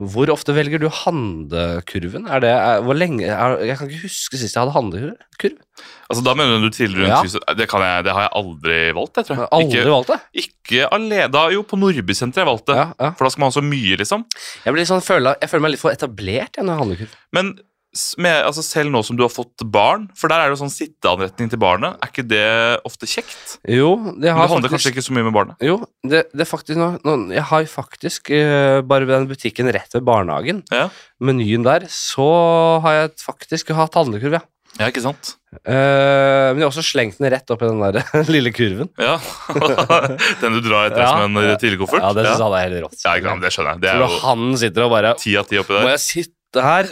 Hvor ofte velger du handlekurven? Er det, er, hvor lenge, er, jeg kan ikke huske sist jeg hadde handlekurv. Altså, da mener du du triller rundt Ja. huset? Det, kan jeg, det har jeg aldri valgt, jeg, Jeg tror jeg. har aldri Ikke, valgt det. ikke alene. Da, jo, på Nordbysenteret har jeg valgt det. Ja, ja. For da skal man ha så mye, liksom. Jeg, blir sånn, føler, jeg føler meg litt for etablert jeg, når jeg handler kurv. Men s- med, altså, selv nå som du har fått barn, for der er det jo sånn sitteanretning til barnet, er ikke det ofte kjekt? Jo, det Men har det handler kanskje faktisk ikke så mye med barnet. jo, det, det er faktisk nå, nå, Jeg har faktisk, eh, bare ved den butikken rett ved barnehagen, Ja. menyen der, så har jeg faktisk hatt handlekurv, ja. Ja, ikke sant? Eh, men jeg har også slengt den rett opp i den der *laughs* lille kurven. Ja. *laughs* Den du drar etter Ja. som en eh, trillekoffert? Ja, det synes ja. han er helt rått. Ja, ikke sant, det skjønner jeg. Det Så er når jo han sitter og bare ti av ti oppi Må der. jeg sitte *laughs* her?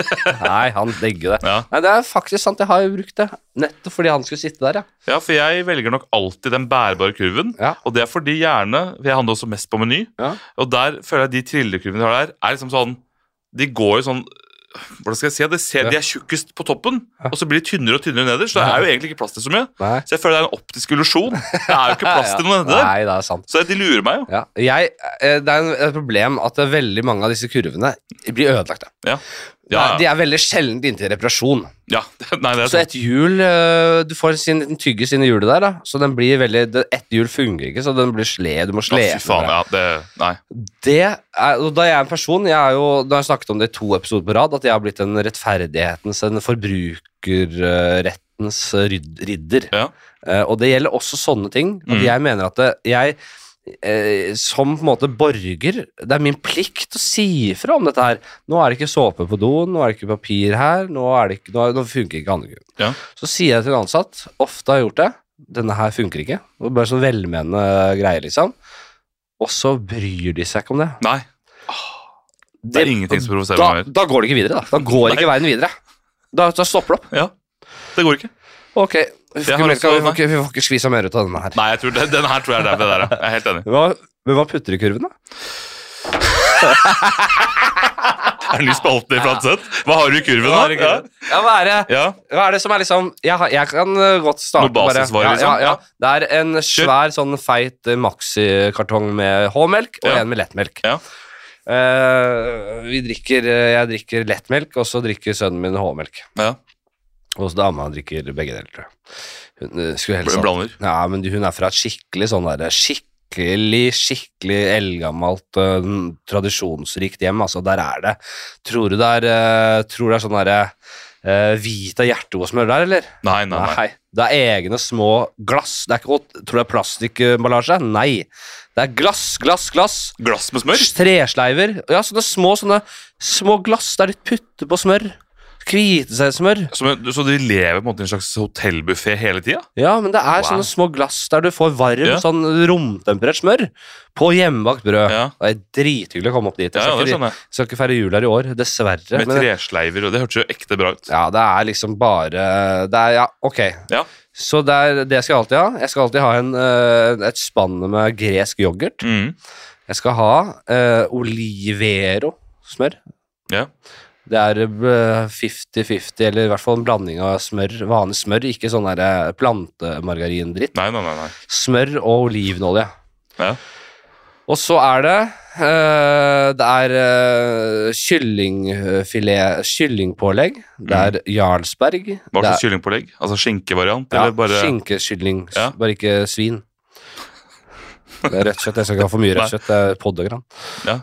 Nei, han digger det. Ja. Nei, det er faktisk sant. Jeg har jo brukt det nettopp fordi han skulle sitte der, ja. ja, for jeg velger nok alltid den bærbare kurven. Ja. Og det er fordi gjerne Jeg handler også mest på Meny. Ja. Og der føler jeg de trillekurvene de har der, er liksom sånn De går jo sånn Hvordan skal jeg si det? De, ser, Ja. de er tjukkest på toppen, Ja. og så blir de tynnere og tynnere nederst. Så det er jo egentlig ikke plass til så mye. Nei. Så jeg føler det er en optisk illusjon. Det er jo ikke *laughs* plass til noe nedi der. Nei, det er sant. Så de lurer meg jo. Ja, jeg, eh, det er en- et problem at det er veldig mange av disse kurvene blir ødelagte. Ja. Ja, Nei, De er veldig sjeldent inntil reparasjon. ja. *laughs* Nei, det er sånn. Så sant. et hjul eh, Du får sin liten tyggis inn i hjulet der, da. Så den blir veldig det- Ett hjul fungerer ikke, så den blir sle, du må Ja, sle. Fy faen, ja. Det, nei. Det er, og da jeg er en person jeg er jo, Da har jeg snakket om det i to episoder på rad, at jeg har blitt en rettferdighetens, en forbrukerrettens rydd- ridder. Ja. Eh, og det gjelder også sånne ting. At Mm. jeg mener at det, jeg eh, som på en måte borger Det er min plikt å si ifra om dette her. Nå er det ikke såpe på doen, nå er det ikke papir her, nå, er det ikke, nå, nå funker ikke handlekurven. Ja. Så sier jeg til en ansatt, ofte har jeg gjort det, denne her funker ikke. Det er bare sånn velmenende greie, liksom. Og så bryr de seg ikke om det. nei. Det er ingenting som provoserer da, meg mer. da går det ikke videre, da. Da går ikke veien videre. Da, da stopper det opp. Ja, det går ikke. Ok, vi får, Jeg ikke, har mer- også- vi får, ikke, vi får ikke skvisa mer ut av denne her. Nei, jeg tror, den, den her tror jeg er der. det Der, ja. jeg er helt enig. Hva, men hva putter du i kurven, da? *laughs* Er det ny spalte i Flatseth? Hva har du i kurven, da? Ja. Ja, hva, er det, Ja. hva er det som er liksom Jeg, har, jeg kan uh, godt starte Noe basisvarer, bare- liksom? Ja, Ja. ja, ja. Det er en svær, sånn feit uh, maxikartong med H-melk og Ja. en med lettmelk. Ja. Eh, vi drikker, eh, jeg drikker lettmelk, og så drikker sønnen min H-melk. ja. Og så dama drikker begge deler, tror jeg. Hun eh, skulle helst Bl- Blander. Ja, men hun er fra et skikkelig sånn der, skikkelig, skikkelig eldgammelt, eh, tradisjonsrikt hjem, altså der er det. Tror du det er, eh, tror det er sånn der eh, hvit av hjerte og smør der, eller? Nei, nei, nei. Det er egne små glass, det er ikke, å- tror du det er plastikkomballasje? Nei, det er glass, glass, glass. Glass med smør? Tresleiver, ja, sånne små, sånne små glass der de putter på smør. Kvite seg smør. Som, en- så de lever på en måte i en slags hotellbuffé hele tida? Ja, men det er Wow. sånne små glass der du får varm, Ja. sånn romtemperert smør på hjemmebakt brød. Ja. Det er drithyggelig å komme opp dit. Jeg Ja, ja, skal, det ikke, skjønner jeg. skal ikke feire jul her i år, dessverre. Med men- tresleiver, og det hørtes jo ekte bra ut. ja, det er liksom bare Det er, ja, ok. Ja. Så det, er, det skal jeg alltid ha. Jeg skal alltid ha en, eh, et spann med gresk yoghurt. Mm. Jeg skal ha eh, olivero-smør. Ja. Det er eh, 50-50, eller i hvert fall en blanding av smør, vanlig smør, ikke sånn der eh, plantemargarindritt. Nei, nei, nei. nei. Smør og olivenolje. Ja. Og så er det eh, Det er eh, kyllingfilet Kyllingpålegg. Det er Jarlsberg. Mhm. Hva det slags er, kyllingpålegg? Altså skinkevariant? ja, eller bare Skinkekylling, s- Ja. bare ikke svin. Det er rødt kjøtt. Jeg skal ikke ha for mye rødt kjøtt. Det er poddogram. Ja.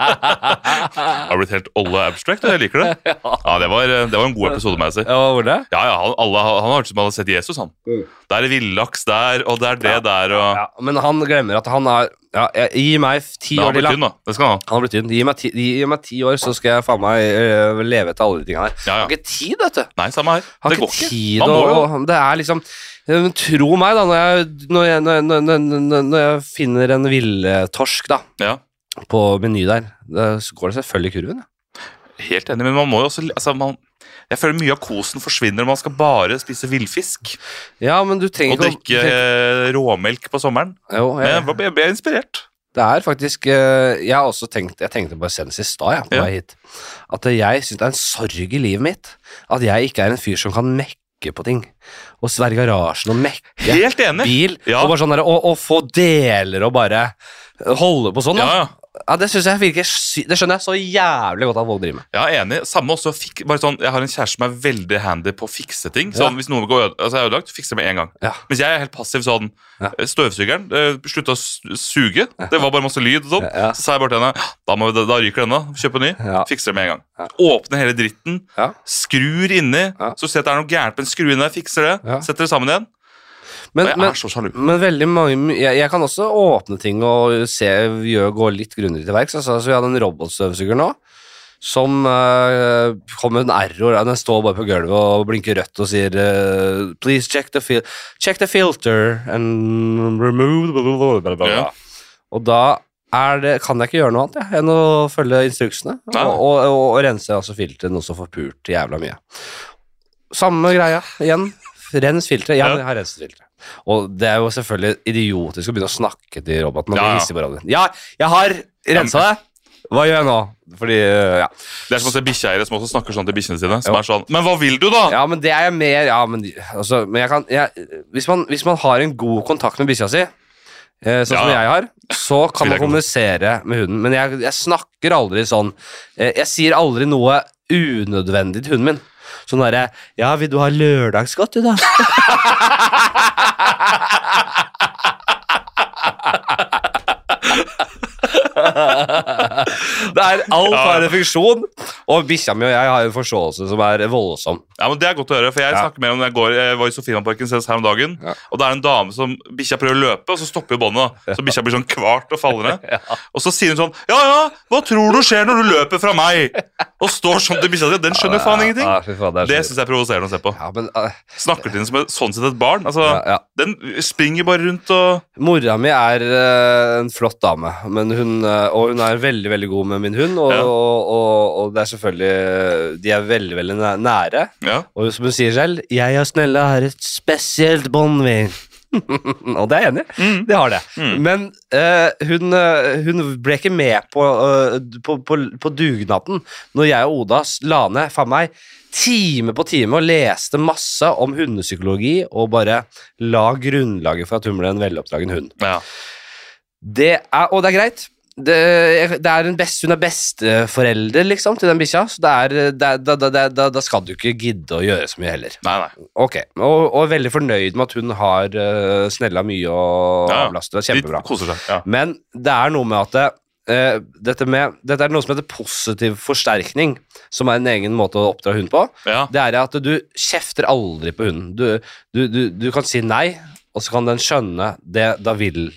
Har blitt helt olle abstract, og jeg liker det. *laughs* Ja, det var, eh, det var en god episode, må jeg si. *laughs* Ja, hva var det? Ja, ja, han, alle, han har hørt som han har sett Jesus, han. Mm. Det er villaks der, og det er det Ja. der, og Ja, men han glemmer at han er ja, jeg- Gi meg f- ti Det år har til, blitt da. tynn, da. Det skal han ha. Han har blitt tynn. Gi meg ti, gi meg ti år, så skal jeg faen meg øh, leve etter alle de tingene her. Ja, Jeg ja. har ikke tid, vet du. Nei, samme her. Har Det ikke går tid Man må jo. og, Det er liksom men Tro meg, da, når jeg, når jeg, når jeg, når jeg, når jeg, når jeg finner en villtorsk da, Ja. på meny der, det- så går det selvfølgelig i kurven. ja. Helt enig, men man må jo også altså, man, Jeg føler mye av kosen forsvinner når man skal bare spise villfisk Ja, men du trenger og ikke å- du drikke trenger- eh, råmelk på sommeren. Jo, Men jeg jeg, ble- jeg ble inspirert. det er faktisk øh, Jeg har også tenkt Jeg tenkte bare senest i stad, jeg, på Ja. vei hit, at jeg syns det er en sorg i livet mitt at jeg ikke er en fyr som kan mekke på ting. Å sverre garasjen og mekke. Helt enig. bil, Ja. og bare sånn der, og, og få deler og bare holde på sånn. Ja, Da. ja. Ja. Det synes jeg virker sy Det skjønner jeg så jævlig godt at folk driver med. Ja, enig. Samme også. Fik, bare sånn, jeg har en kjæreste som er veldig handy på å fikse ting. Sånn, Ja. Hvis noe går øde, altså er ødelagt, fikser jeg med en gang. Ja. Mens jeg er helt passiv sånn. Ja. Støvsugeren eh, slutta å su- suge. Det var bare masse lyd og sånn. Ja, ja. Så sa jeg bare til henne da, må vi, da ryker denne. Kjøp en ny. Ja. Fikser det med en gang. Ja. Åpner hele dritten. Ja. Skrur inni. Ja. Så ser jeg at det er noe gærent med en skru inni der. Fikser det. Ja. Setter det sammen igjen. Og Men, jeg men, er så sjalu. Mm. men veldig mange jeg, jeg kan også åpne ting og se, gjøre, gå litt grundig til verks. Altså, så vi hadde en robotstøvsuger nå som eh, kom med en error. Den står bare på gulvet og blinker rødt og sier eh, Please check the, fil check the filter and remove blablabla. Ja. Og da er det, kan jeg ikke gjøre noe annet jeg, enn å følge instruksene. Nei. Og, og, og, og rense altså filteret, noe som får pult jævla mye. Samme greia igjen. Rens filteret. Ja, Ja. jeg har renset filteret. Og det er jo selvfølgelig idiotisk å begynne å snakke til roboten. Ja, Ja, ja. på hverandre. ja jeg har rensa det! Hva gjør jeg nå? Fordi, eh, ja. Det er som å se bikkjeeiere som også snakker sånn til bikkjene sine. Som er sånn Men hva vil du, da? ja, men det er jeg mer Ja, men, de- altså, men jeg kan jeg, hvis, man, hvis man har en god kontakt med bikkja si, eh, sånn som Ja. jeg har, så kan man Vil jeg ikke- kommunisere med hunden. Men jeg, jeg snakker aldri sånn eh, Jeg sier aldri noe unødvendig til hunden min. Sånn derre Ja, vil du ha lørdagsgodt, du, da? *laughs* Det er alt Ja. har en funksjon, og bikkja mi og jeg har en forståelse som er voldsom. Ja, men Det er godt å høre, for jeg Ja. snakker mer om når jeg, går, jeg var i Sofienparken senest her om dagen. Ja. Og det er en dame som bikkja prøver å løpe, og så stopper jo båndet. da. Så bikkja blir sånn kvart og faller *laughs* ned. Og så sier hun sånn Ja, ja, hva tror du skjer når du løper fra meg? Og står sånn til bikkja si. Den skjønner faen ingenting. Ja, fy faen, det er så- Det syns jeg er provoserende å se på. ja, men, eh, Snakker til den som et, sånn sett et barn. Altså, ja, ja. Den springer bare rundt og Mora mi er eh, en flott dame, men hun, eh, og hun er veldig veldig god med min hund. Og, Ja. og, og, og det er selvfølgelig De er veldig veldig næ- nære. Ja, Og som hun sier selv, jeg og Snella har et spesielt bånd, vi. *laughs* og det er jeg enig i. Det har det. Mm. Men eh, hun, eh, hun ble ikke med på, eh, på, på, på dugnaden når jeg og Oda s- la ned faen meg, time på time og leste masse om hundepsykologi og bare la grunnlaget for at hun ble en veloppdragen hund. ja. Det er, og det er greit. Det, det er en best, hun er besteforelder liksom, til den bikkja, så det er, det, er- da, da, da- da, da skal du ikke gidde å gjøre så mye heller. Nei, nei. Ok, Og, og er veldig fornøyd med at hun har eh, snella mye og Ja, ja. avlastet. Det er kjempebra. De koser seg. Ja. Men det er noe med at det, eh, dette, med, dette er noe som heter positiv forsterkning, som er en egen måte å oppdra hund på. Ja. Det er at du kjefter aldri på hunden. Du, du, du, du kan si nei, og så kan den skjønne det. Da vil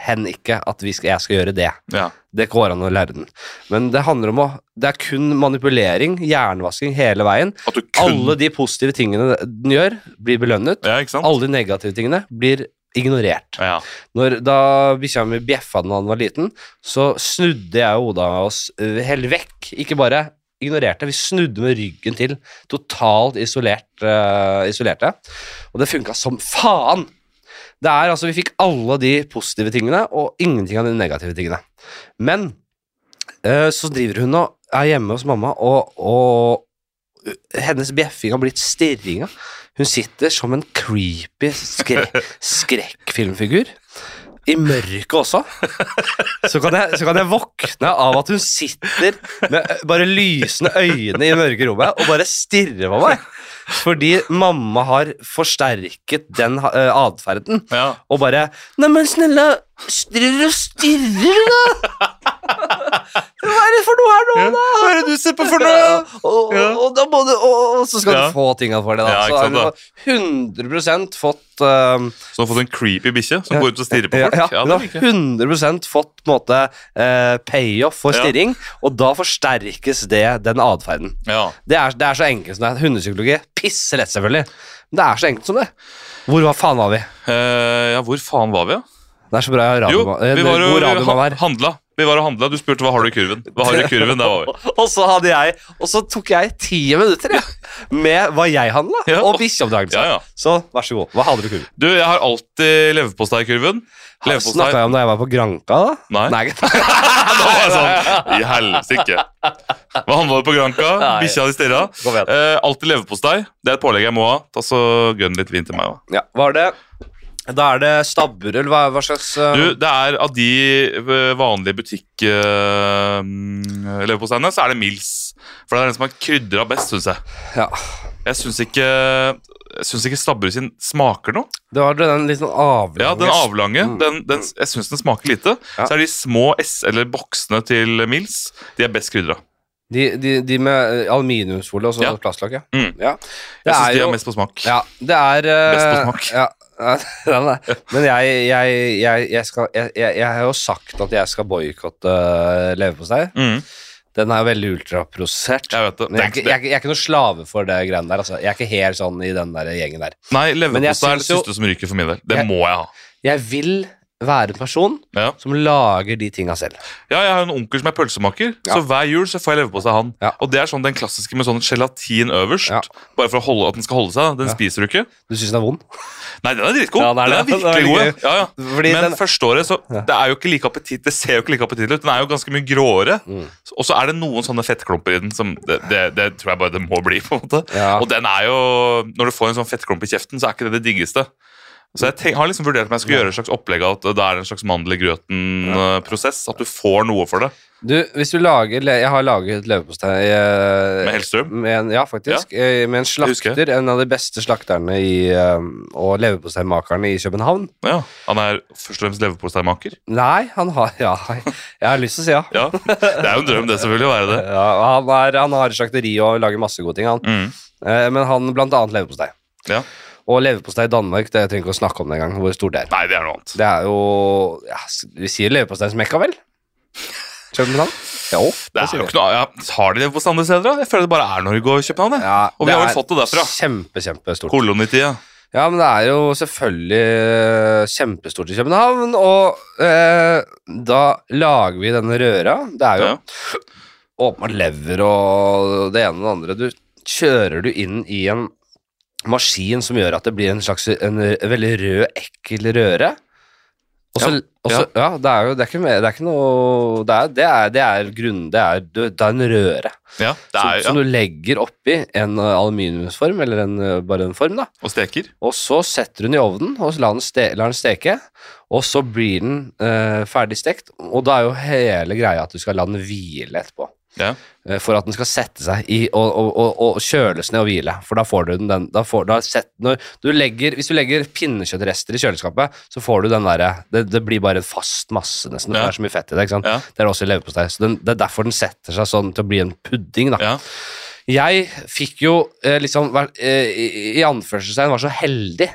hen ikke at vi skal, jeg skal gjøre det. Ja. Det går an å lære den. Men det handler om å Det er kun manipulering, hjernevasking hele veien. At du kun Alle de positive tingene den gjør, blir belønnet. Ja, ikke sant? Alle de negative tingene blir ignorert. Ja. Når, da bikkja mi bjeffa da han var liten, så snudde jeg og Oda oss eh, helt vekk. Ikke bare ignorerte, vi snudde med ryggen til. Totalt isolert, eh, isolerte. Og det funka som faen! Det er altså, Vi fikk alle de positive tingene og ingenting av de negative tingene. Men eh, så driver hun og er hjemme hos mamma, og, og hennes bjeffing har blitt stirringa. Hun sitter som en creepy skrek, skrekkfilmfigur. I mørket også. *laughs* Så kan, jeg, så kan jeg våkne av at hun sitter med ø- bare lysende øyne i mørke rommet og bare stirrer på meg. Fordi mamma har forsterket den ha- ø, atferden Ja. og bare Neimen, snille, stirrer og stirrer, da! *laughs* Hva er det for noe her nå, da? Hva er det du ser på for noe? Ja, Og, Ja. og, da må du, og, og så skal Ja. du få tinga for det, da. Ja, så ikke sant, da. har hun har 100 fått um, Så du har fått en creepy bikkje som Ja. går ut og stirrer på ja, folk? ja, Ja, hun det har liker 100 jeg. fått på en måte eh, payoff for Ja. stirring, og da forsterkes det den atferden. ja. Det er, det er så enkelt som det er. Hundepsykologi pisser lett, selvfølgelig. Men det er så enkelt som det. Hvor hva faen var vi? Eh, ja, hvor faen var vi, da? Det er så bra radio, Jo, vi var god radio man og *laughs* er. handla. Vi var og handla. Du spurte hva har du i kurven. Hva har du i kurven? Der var vi. Og så hadde jeg Og så tok jeg ti minutter jeg, med hva jeg handla, Ja. og bikkjeoppdragelse. Ja, ja. Så vær så god. Hva hadde du kunnet? Du, jeg har alltid leverpostei i kurven. *laughs* Snakka jeg om da jeg var på Granka, da? Nei. Nei *laughs* Ja, da var jeg sånn, I helsike. Hva handla det på Granka? Nei. Bikkja di stirra. Kom igjen. Eh, alltid leverpostei. Det er et pålegg jeg må ha. Ta så Gønn litt vin til meg òg. Ja, var det Da er det stabburull. Hva, hva slags uh, Du, det er av de eh, vanlige butikkleverposteiene, så er det Mils. For det er den som har krydra best, syns jeg. Ja. Jeg syns ikke jeg synes ikke stabburet sin smaker noe. Det var den litt sånn avlange Ja, Den avlange. Mm. Den, den, jeg syns den smaker lite. Ja. Så er de små S- eller boksene til Mils de er best krydra. De, de, de med eh, aluminiumsfolie og så Ja. plastlokk, ja. Mm. ja. Jeg Det syns er de jo er mest på smak. Ja, det er eh, Best på smak. Ja. *laughs* ja, det er det. Men jeg, jeg, jeg, jeg, skal, jeg, jeg, jeg har jo sagt at jeg skal boikotte uh, leverpostei. Mm, Den er jo veldig ultraprosessert. jeg vet det. Men jeg, er ikke- jeg, er ikke- jeg er ikke noe slave for det greiene der. Altså. Jeg er ikke helt sånn i den der gjengen der. Nei, Men jeg leverpostei er det syns jo- siste som ryker for min del. Det Jeg- må jeg ha. Jeg vil være en person Ja. som lager de tinga selv. ja, Jeg har en onkel som er pølsemaker, Ja. så hver jul så får jeg leverpostei av han. Ja. Og det er sånn den klassiske med sånn gelatin øverst, Ja. bare for å holde, at den skal holde seg. Den Ja. spiser du ikke. Du syns den er vond? Nei, den er dritgod. Ja, den er den, er det. *laughs* Den er virkelig veldig god. Ja, ja. Fordi Men den, første året, så det er jo ikke like appetitt, det ser jo ikke like appetittlig ut. Den er jo ganske mye gråere. Mm. Og så er det noen sånne fettklumper i den som det, det, det tror jeg bare det må bli. på en måte. ja, Og den er jo Når du får en sånn fettklump i kjeften, så er ikke det det diggeste. Så jeg tenk, har liksom vurdert om jeg skulle gjøre et slags opplegg av at det er en slags mandel i grøten-prosess. At du får noe for det du, hvis du lager le- Jeg har laget leverpostei med eh, Hellstrøm. med en, ja, faktisk. eh, Med en husker slakter, en av de beste slakterne i, eh, og leverposteimakerne i København. Ja, Han er først og fremst leverposteimaker. Nei, han har *laughs* Ja, jeg har lyst til å si ja. Ja, det er jo en drøm, det, selvfølgelig, å være det. ja han, er, han har slakteri og lager masse gode ting, han. Mm. Eh, Men han blant annet leverpostei. Ja. Og leverpostei i Danmark, det trenger jeg ikke å snakke om det engang, hvor stort det er. Nei, det er noe annet. Det er jo ja, s- Vi sier leverpostein som ekka, vel? København? Jo, Det er jo ikke noe, ja, Har de det på andre steder? da? Jeg føler det bare er Norge og København. jeg. Ja, Og vi det har vel er fått det derfra. Kjempe, kjempestort. Kolonitida. Ja, men det er jo selvfølgelig eh, kjempestort i København, og eh, da lager vi denne røra. Det er jo Ja. åpenbart lever og det ene og det andre. Du kjører du inn i en maskin som gjør at det blir en slags en veldig rød, ekkel røre. Og så, Ja, og så, ja. det er jo det er ikke, mer- det er ikke noe Det er, det er, det er grunn... Det er, det er en røre Ja, det som, er, som ja. du legger oppi en eh, aluminiumsform, eller en, eh, bare en form, da. Og steker. Og så setter hun i ovnen og lar den, ste lar den steke, og så blir den eh, ferdig stekt. Og da er jo hele greia at du skal la den hvile etterpå. Ja. Eh, For at den skal sette seg i og, og, og, og kjøles ned og hvile. For da får du den, den da får, da sett, når du legger, Hvis du legger pinnekjøttrester i kjøleskapet, så får du den derre det, det blir bare en fast masse, nesten. Det Ja. er så mye fett i det. ikke sant? Ja. Det er også i leverpostei. Så den, det er derfor den setter seg sånn til å bli en pudding. da. Ja. Jeg fikk jo eh, liksom vær- eh, i- I anførselstegn var så heldig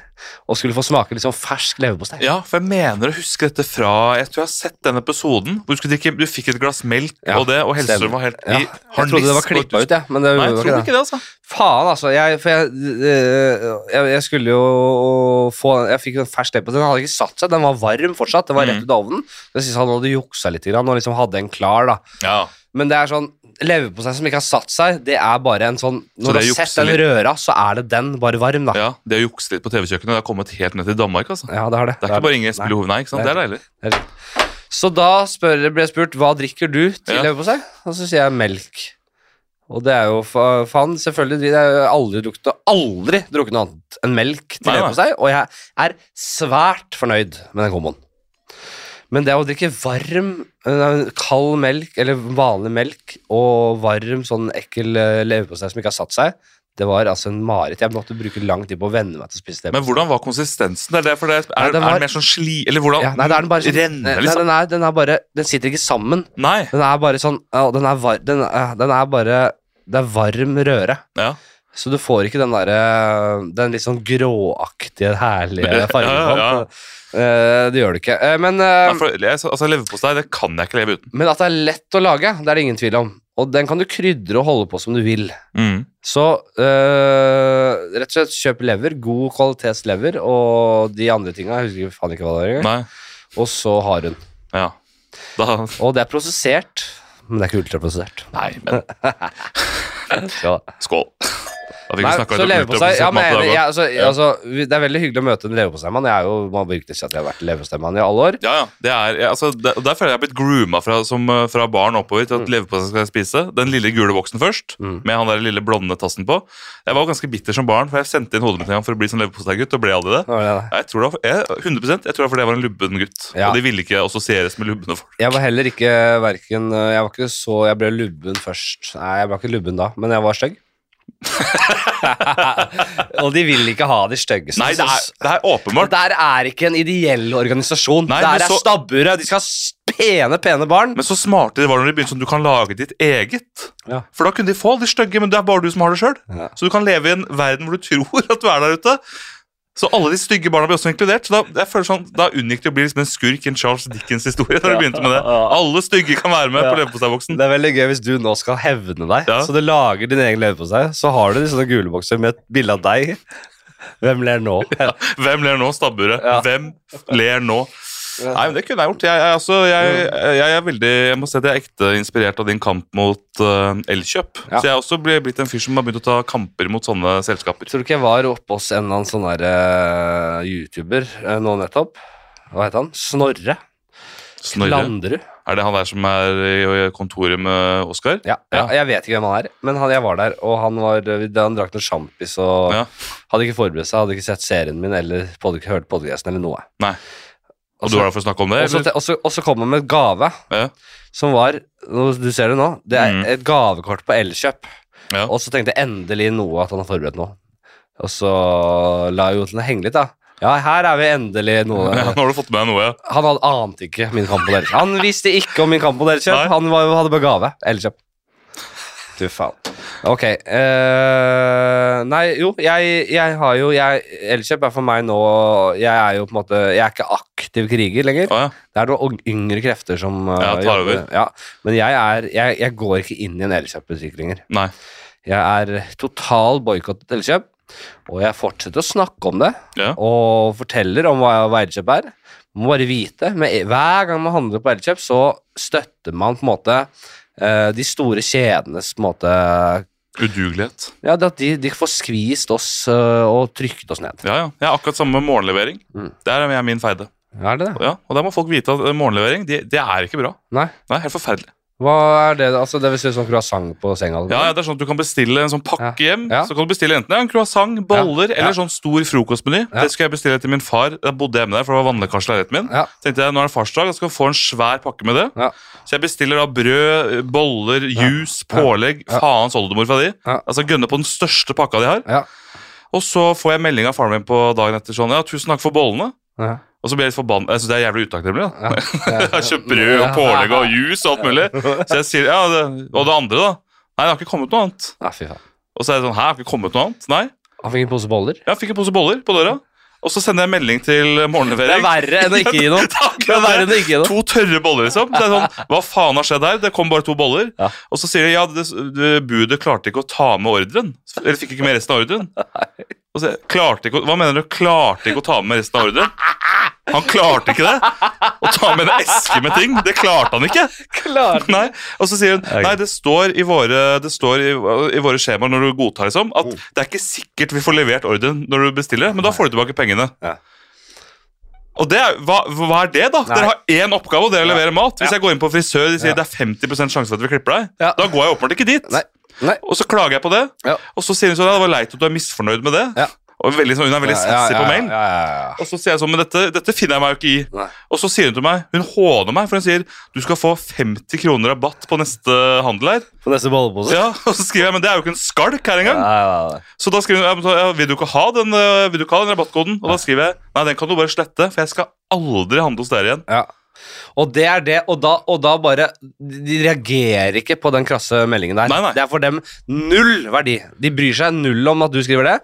og skulle få smake liksom fersk leverpostei. ja, for jeg mener å huske dette fra Jeg tror jeg har sett den episoden hvor du, skulle drikke, du fikk et glass melk Ja, og det, og Hellstrøm var helt Ja, i jeg trodde det var klippa ut, jeg. Men det Nei, jeg var trodde ikke det. ikke det, altså. Faen, altså. Jeg, for jeg, eh, jeg, jeg skulle jo få Jeg fikk en fersk leverpostei. Den hadde ikke satt seg. Den var varm fortsatt. Den var rett Mm. ut av ovnen. Jeg synes han hadde juksa litt grann, og liksom hadde en klar, da. Ja, Men det er sånn leverpostei som ikke har satt seg, det er bare en sånn Så Når du det har sett jukser den røra, så er det den bare varm, da. Ja, ja Det å jukse litt på TV-kjøkkenet Det har kommet helt ned til Danmark, altså. det har det. Det er ikke bare Nei. Inge Spille Hoved, nei. ikke sant? Det Nei. er deilig. Det er- Så da spør, ble jeg spurt hva drikker du til Ja. leverpostei, og så sier jeg melk. Og det er jo fa- faen, selvfølgelig. dritt. Jeg har aldri drukket, aldri drukket noe annet enn melk til Nei, nei. leverpostei, og jeg er svært fornøyd med den komboen. Men det å drikke varm, eh, kald melk, eller vanlig melk, og varm, sånn ekkel eh, leverpostei som ikke har satt seg, det var altså en mareritt. Jeg måtte bruke lang tid på å venne meg til å spise det. Men hvordan var konsistensen? Det er derfor det er, Nei, er, den var- det mer sånn sli... Eller hvordan ja, nei, det er den bare sånn, renner, nei, liksom? den, er, den er bare Den sitter ikke sammen. Nei. Den er bare sånn ja, den, er var, den, er, den er bare Det er varm røre. Ja. Så du får ikke den derre Den litt sånn gråaktige, herlige fargen. Ja, ja, ja. på den. Eh, det gjør du ikke. Eh, men, eh, Nei, for, jeg, altså, Leverpostei det kan jeg ikke leve uten. men at det er lett å lage, det er det ingen tvil om. Og den kan du krydre og holde på som du vil. Mm. Så eh, rett og slett kjøp lever, god kvalitetslever, og de andre tinga. Jeg husker faen ikke hva det var engang. Nei. Og så har hun. Ja. Da, Og det er prosessert, men det er ikke ultraprosessert. nei, men Ja. skål. Da fikk Nei, vi snakka så litt om leverpostei ja, men jeg, er enig. ultraprosessert jeg, mat. altså, Ja. altså, vi- Det er veldig hyggelig å møte en leverposteimann. Jeg er jo, man må virkelig si at jeg har vært leverposteimann i alle år. Ja, ja. Det er, ja, altså, der, der føler jeg jeg er blitt grooma fra, som, eh, fra barn oppover til at leverposteien skal jeg spise. Den lille gule boksen først, Mm. med han der lille blonde tassen på. Jeg var ganske bitter som barn, for jeg sendte inn hodet mitt en gang for å bli sånn leverposteigutt, og ble aldri det. Nå er det det. Jeg tror det var, jeg, 100 Jeg tror det var fordi jeg var en lubben gutt. Ja. Og de ville ikke assosieres med lubbene folk. Jeg var heller ikke hverken øh, Jeg var ikke så Jeg ble lubben først. Nei, jeg var ikke lubben da, men jeg var stygg. *laughs* Og de vil ikke ha de styggeste. Nei, det er, det er Det åpenbart. der er ikke en ideell organisasjon. Nei, det men der er så- stabburet. De skal ha pene, pene barn. Men så smarte de var når de begynte sånn du kan lage ditt eget. Ja. For da kunne de få alle de stygge, men det er bare du som har det sjøl. Ja. Så du kan leve i en verden hvor du *laughs* tror at du er der ute. Så alle de stygge barna ble også inkludert. Så da, jeg føler sånn, da unngikk de å bli liksom en skurk i en Charles Dickens-historie. da Ja, du begynte med det. ja. Alle stygge kan være med Ja. på leverposteiboksen. Det er veldig gøy hvis du nå skal hevne deg, Ja. så du lager din egen leverpostei. Så har du de sånne gule bokser med et bilde av deg. Hvem ler nå? Hvem ler nå, stabburet? Ja. Hvem ler nå? Nei, men Det kunne jeg gjort. Jeg, jeg, altså, jeg, jeg er veldig, jeg må si at jeg er ekte inspirert av din kamp mot eh, Elkjøp. Ja. Så jeg er også bli- blitt en fyr som har begynt å ta kamper mot sånne selskaper. Tror du ikke jeg var oppe hos en eller annen sånn der eh, YouTuber eh, nå nettopp? Hva heter han? Snorre Snorre. Landrud. Er det han der som er i i kontoret med Oskar? Ja, ja. Jeg vet ikke hvem han er, men han, jeg var der, og han, var, eh, han drakk noe sjampis og Ja. hadde ikke forberedt seg, hadde ikke sett serien min eller pod hørt podcasten eller noe. Nei. Og Og du så- var der for å snakke om det? og så eller? te- og så- og så kom han med gave, Ja. som var nå- Du ser det nå. Det er Mhm. et gavekort på Elkjøp. Ja. Og så tenkte jeg endelig noe at han har forberedt noe. Og så la jeg jo til å henge litt, da. Ja, her er vi endelig noe. *laughs* Ja, nå har du fått med deg noe, ja. Han hadde ante ikke min kamp mot Elkjøp. Han visste ikke om min kamp mot Nei. Elkjøp. Han var, hadde bare gave. Elkjøp. Du faen. Ok. eh, nei, jo, jeg, jeg har jo jeg, Elkjøp er for meg nå Jeg er jo på en måte Jeg er ikke aktiv kriger lenger. Å, ja. Det er noen yngre krefter som eh, Ja, tar jobber. over. Ja, men jeg, er, jeg, jeg går ikke inn i en Elkjøp-butikk lenger. Nei. Jeg er total boikottet Elkjøp, og jeg fortsetter å snakke om det. Ja. Og forteller om hva, hva Elkjøp er. Man må bare vite. Med, e, hver gang man handler på Elkjøp, så støtter man på en måte eh, de store kjedenes på en måte Udugelighet. Ja, det at de, de får skvist oss eh, og trykket oss ned. Ja, ja. Jeg har akkurat samme morgenlevering. Mm. Der er jeg min feide. Er det det? Ja, og der må folk vite at eh, morgenlevering, det det er ikke bra. Nei. Nei, helt forferdelig. Hva er det? Altså, det vil si sånn croissant på senga? Ja, ja, det er sånn at Du kan bestille en sånn pakke hjem. Ja. Så kan du bestille Enten en croissant, boller Ja. eller sånn stor frokostmeny. Ja. Det skulle jeg bestille til min far. Da bodde jeg med der, for det var vannlekkasje i leiligheten min. Ja. Tenkte jeg, Nå er det farsdag, jeg skal få en svær pakke med det. Ja. Så jeg bestiller da brød, boller, juice, pålegg. Ja. Faens oldemor fra de. Ja. Altså Gønne på den største pakka de har. Ja. Og så får jeg melding av faren min på dagen etter sånn Ja, tusen takk for bollene. Ja. Og så blir jeg litt forbanna. Jeg synes det er jævlig utakknemlig. da. Ja. *laughs* Jeg har kjøpt brød og pålegg og juice og alt mulig. Så jeg sier, ja, det, Og det andre, da? Nei, det har ikke kommet noe annet. Nei, fy faen. Og så er det sånn, hæ, har ikke kommet noe annet? Nei, Han fikk en pose boller. jeg fikk en pose boller på døra. Og så sender jeg melding til Det er morgenlevering. verre enn å ikke gi *laughs* noe. Takk, Det er verre enn å ikke gi noe. To tørre boller, liksom. Så er det sånn, Hva faen har skjedd her? Det kom bare to boller. Ja. Og så sier de ja, det, det, budet klarte ikke å ta med ordren. Eller fikk ikke med resten av ordren. Og så, klarte ikke, å- hva mener du? Klarte ikke å ta med resten av ordren? Han klarte ikke det. Å ta med en eske med ting. Det klarte han ikke. Klart. *laughs* Nei, Og så sier hun Ok. nei, det står i våre, det står i, i våre skjemaer når du godtar liksom, at Mm. det er ikke sikkert vi får levert ordren når du bestiller, men da får du tilbake pengene. Ja. Og det er, hva, hva er det, da? Nei. Dere har én oppgave, og det er å Ja. levere mat. Hvis Ja. jeg går inn på frisør de sier Ja. det er 50 sjanse for at vi klipper deg, Ja. da går jeg åpenbart ikke dit. Nei. Nei. Og så klager jeg på det, Ja. og så sier hun sånn ja, det var leit at du er misfornøyd med det. Ja. Og veldig, sånn, Hun er veldig sassy på mail. Ja, ja, ja. Og så sier jeg sånn, men dette, dette finner jeg meg jo ikke i. Nei. Og så sier hun til meg, hun håner meg, for hun sier du skal få 50 kroner rabatt på neste handel her. På neste bollepose. Ja, Og så skriver jeg men det er jo ikke en skalk her engang. ja, ja. Så da skriver hun ja, men så, ja, vil, du ikke ha den, øh, vil du ikke ha den rabattkoden? Og da skriver jeg nei, den kan du bare slette, for jeg skal aldri handle hos dere igjen. Ja. Og det er det, og da, og da bare De reagerer ikke på den krasse meldingen der. Nei, nei. Det er for dem null verdi. De bryr seg null om at du skriver det.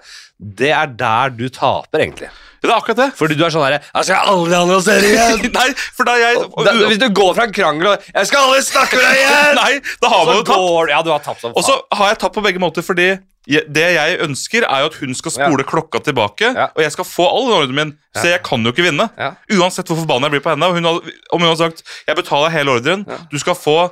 Det er der du taper, egentlig. Ja, Det er akkurat det. Fordi du er sånn herre Jeg skal aldri ha noe serie igjen! *laughs* Nei, for da er jeg Da, hvis du går fra en krangel og 'Jeg skal aldri snakke med deg igjen!' *laughs* Nei, da så har man jo tapt. går du Ja, du har tapt som Og så har jeg tapt på begge måter, fordi jeg- det jeg ønsker, er jo at hun skal spole klokka tilbake, Ja. og jeg skal få all den ordren min, så jeg kan jo ikke vinne. Ja. Uansett hvor forbanna jeg blir på henne. og Hun hadde, om hun hadde sagt 'jeg betaler hele ordren', du skal få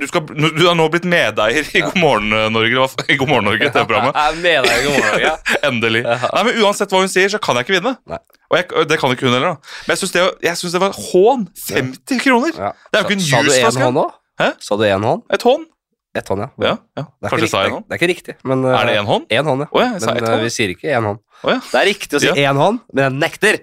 du, skal, du har nå blitt medeier i God morgen eh, Norge, det var f- i God morgen Norge, TV-programmet. Jeg mener deg ikke morgen. *laughs* *laughs* Ja. Endelig. Nei, men Uansett hva hun sier, så kan jeg ikke vinne. Nei. Og jeg, og det kan ikke hun heller, da. Men jeg syns det, jeg synes det var hån. 50 kroner! Ja. Det er jo ikke en Sa du én juiceflaske. hånd òg? Hæ? Sa du én hånd? Et hånd. Ett hånd, ja. Ja, ja. Det er Kanskje ikke sa jeg riktig- Eh, en hånd. Det er ikke riktig, men Er det en hånd? Én hånd, ja. Å, ja, jeg sa men ett eh, hånd. vi sier ikke én hånd. Å, ja. Det er riktig å si Ja. én hånd, men jeg nekter.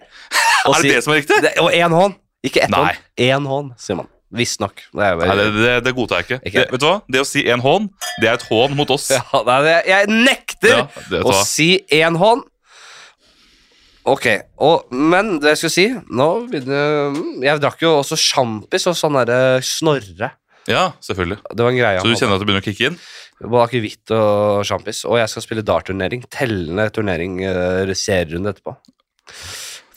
å *laughs* Er si- det det som er riktig? Det, og én hånd, ikke ett Nei. hånd. Én hånd, sier man. Visstnok. Det er Nei, bare- det, det, det godtar jeg ikke. Ikke Det, jeg. vet du hva? Det å si en hån, det er et hån mot oss. Ja, nei, det- jeg nekter Ja, det vet du å hva. si én hånd. Ok, og, men det jeg skulle si Nå begynner mm, Jeg drakk jo også sjampis og sånn derre snorre. Ja, selvfølgelig. Det var en greie. Så du kjenner at det begynner å kicke inn? Både akevitt og sjampis. Og jeg skal spille dartturnering. Tellende turnering eh, serierunde etterpå.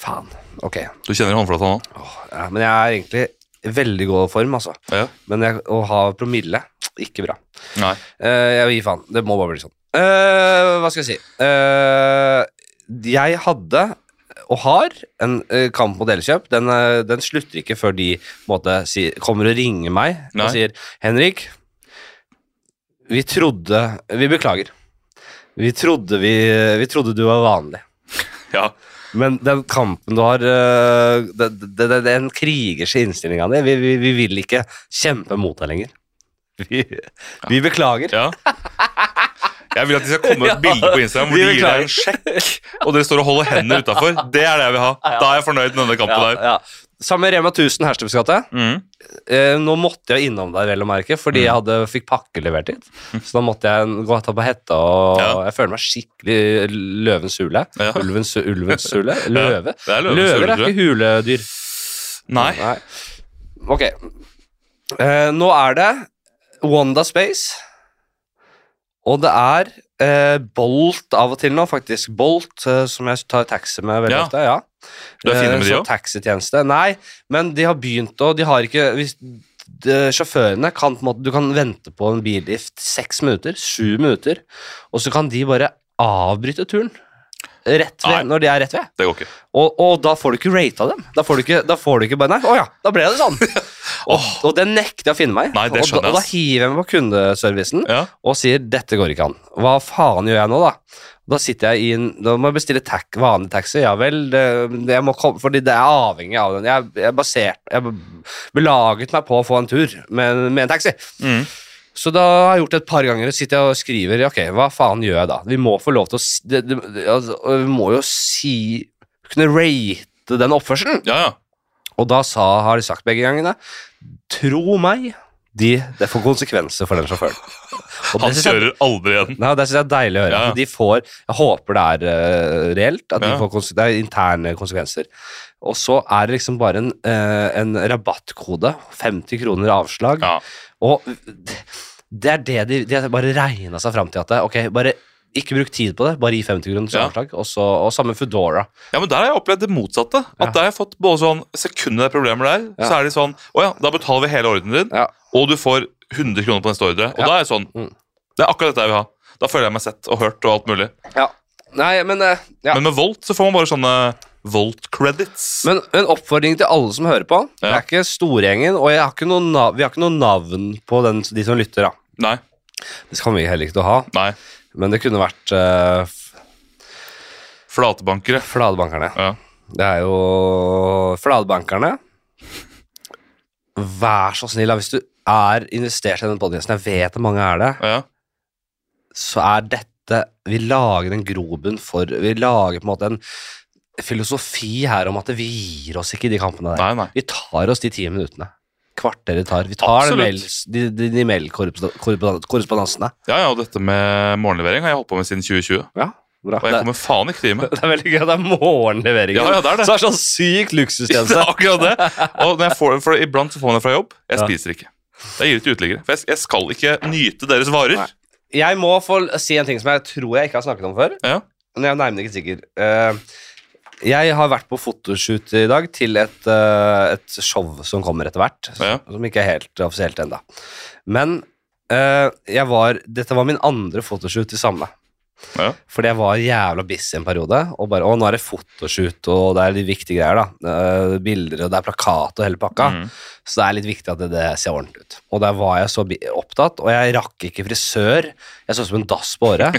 Faen. Ok. Du kjenner håndflata nå? Åh, ja, men jeg er egentlig i veldig god form, altså. Ja. Men jeg, å ha promille ikke bra. Nei. Eh, jeg vil gi faen. Det må bare bli sånn. Eh, hva skal jeg si? Eh, jeg hadde og har en eh, kamp mot Elkjøp. Den, eh, den slutter ikke før de på en måte, si, kommer og ringer meg Nei. og sier Henrik, vi trodde Vi beklager. Vi trodde, vi, vi trodde du var vanlig. Ja. Men den kampen du har øh, det, det, det, Den krigerske innstillinga di vi, vi, vi vil ikke kjempe mot deg lenger. Vi, vi beklager. ja. Jeg vil at de skal komme med *laughs* Ja, et bilde på Instagram hvor vi de gir beklager. deg en sjekk, og dere står og holder hendene utafor. Det er det jeg vil ha. Da er jeg fornøyd med denne kampen der. ja. Samme Rema 1000 Herstubs gate. Mm. Eh, nå måtte jeg innom der, vel å merke, fordi jeg hadde, fikk pakke levert hit. Så da måtte jeg gå og ta på hetta, og Ja. jeg føler meg skikkelig løvens hule. Ja. Ulvens, ulvens *laughs* hule? Løve? det er løvens hule, Løver er tror jeg. ikke huledyr. Nei. Nei. Ok. Eh, nå er det Wanda Space, og det er eh, Bolt av og til nå, faktisk. Bolt, eh, som jeg tar taxi med veldig Ja. ofte. ja. Du er fin med de Eh, så også? Taxitjeneste. Nei, men de har begynt å De har ikke hvis, de, Sjåførene kan på en måte Du kan vente på en bil i f- seks minutter, sju minutter, og så kan de bare avbryte turen. Rett ved, Nei. når de er rett ved. Det går ikke. Og, og da får du ikke rata dem. Da får du ikke, da får du ikke bare Nei, å ja, da ble det sånn. og, og det nekter jeg å finne meg i. Nei, Og, det da- skjønner jeg, og da ass. hiver jeg meg på kundeservicen Ja. og sier 'dette går ikke an'. Hva faen gjør jeg nå, da? Da sitter jeg i en Da må jeg bestille tak, vanlig taxi. Ja vel, det, det må komme, fordi det er avhengig av den. Jeg, jeg basert Jeg belaget meg på å få en tur med, med en taxi. Mm. Så da har jeg gjort det et par ganger, og sitter jeg og skriver Ok, hva faen gjør jeg da? Vi må få lov til å s- det, det, altså, Vi må jo si Kunne rate den oppførselen. Ja, ja. Og da sa, har de sagt begge gangene Tro meg, de, det får konsekvenser for den sjåføren. Og Han det synes jeg- kjører aldri igjen. Nei, Det syns jeg er deilig å høre. Ja. At de får, jeg håper det er eh, reelt, at de Ja. får konse- det er interne konsekvenser. Og så er det liksom bare en, eh, en rabattkode. 50 kroner avslag. Ja. Og det er det de, de har bare regna seg fram til at det, ok, bare ikke bruk tid på det, bare gi 50 kroner Ja. avslag. Og, så, og samme Foodora. Ja, men Der har jeg opplevd det motsatte. At Ja. der har jeg fått både sånn Sekundet det er problemer der, Ja. så er de sånn Å ja, da betaler vi hele ordren din, Ja. og du får 100 kroner på neste ordre. Og Ja. da er jeg sånn Mm. Det er akkurat dette jeg vil ha. Da føler jeg meg sett og hørt og alt mulig. Nei, men eh, ja. Men med Volt så får man bare sånne Volt credits. Men en oppfordring til alle som hører på. Det Ja. er ikke storgjengen, og jeg har ikke noen nav- vi har ikke noe navn på den, de som lytter. da Nei. Det skal vi heller ikke til å ha, nei, men det kunne vært eh, f- Flatebankere. fladebankerne. Ja. Det er jo fladbankerne. Vær så snill, da, hvis du er investert i den podkasten, jeg vet at mange er det, Ja. så er dette Vi lager en grobunn for Vi lager på en måte en filosofi her om at vi gir oss ikke i de kampene der. Nei, nei. Vi tar oss de ti minuttene. Kvarteret tar. Vi tar den Absolutt. mail, de, de, de mailkorrespondansene. Ja, ja, og dette med morgenlevering har jeg holdt på med siden 2020. Ja, bra. Og jeg Det, kommer faen ikke til å gi meg. *laughs* det *laughs* er veldig gøy. Det er morgenleveringen. Ja, ja, det er det. Så det er sånn syk Det luksustjeneste. er akkurat det. Og når jeg får, for iblant så får man det fra jobb. Jeg Ja. spiser ikke. Jeg gir det til uteliggere. For jeg, jeg skal ikke nyte deres varer. Nei. Jeg må få si en ting som jeg tror jeg ikke har snakket om før. Ja. Men jeg er nærmere ikke sikker. Eh, jeg har vært på fotoshoot i dag til et, eh, et show som kommer etter hvert. Ja. Som ikke er helt offisielt ennå. Men eh, jeg var, dette var min andre fotoshoot i samme. Ja. Fordi jeg var jævla busy en periode. Og bare, å, nå er det fotoshoot, og det er litt viktige greier, da. Eh, bilder, og det er plakat og hele pakka. Mm. Så det er litt viktig at det, det ser ordentlig ut. Og der var jeg så bi- opptatt, og jeg rakk ikke frisør. Jeg så ut som en dass på *laughs* håret.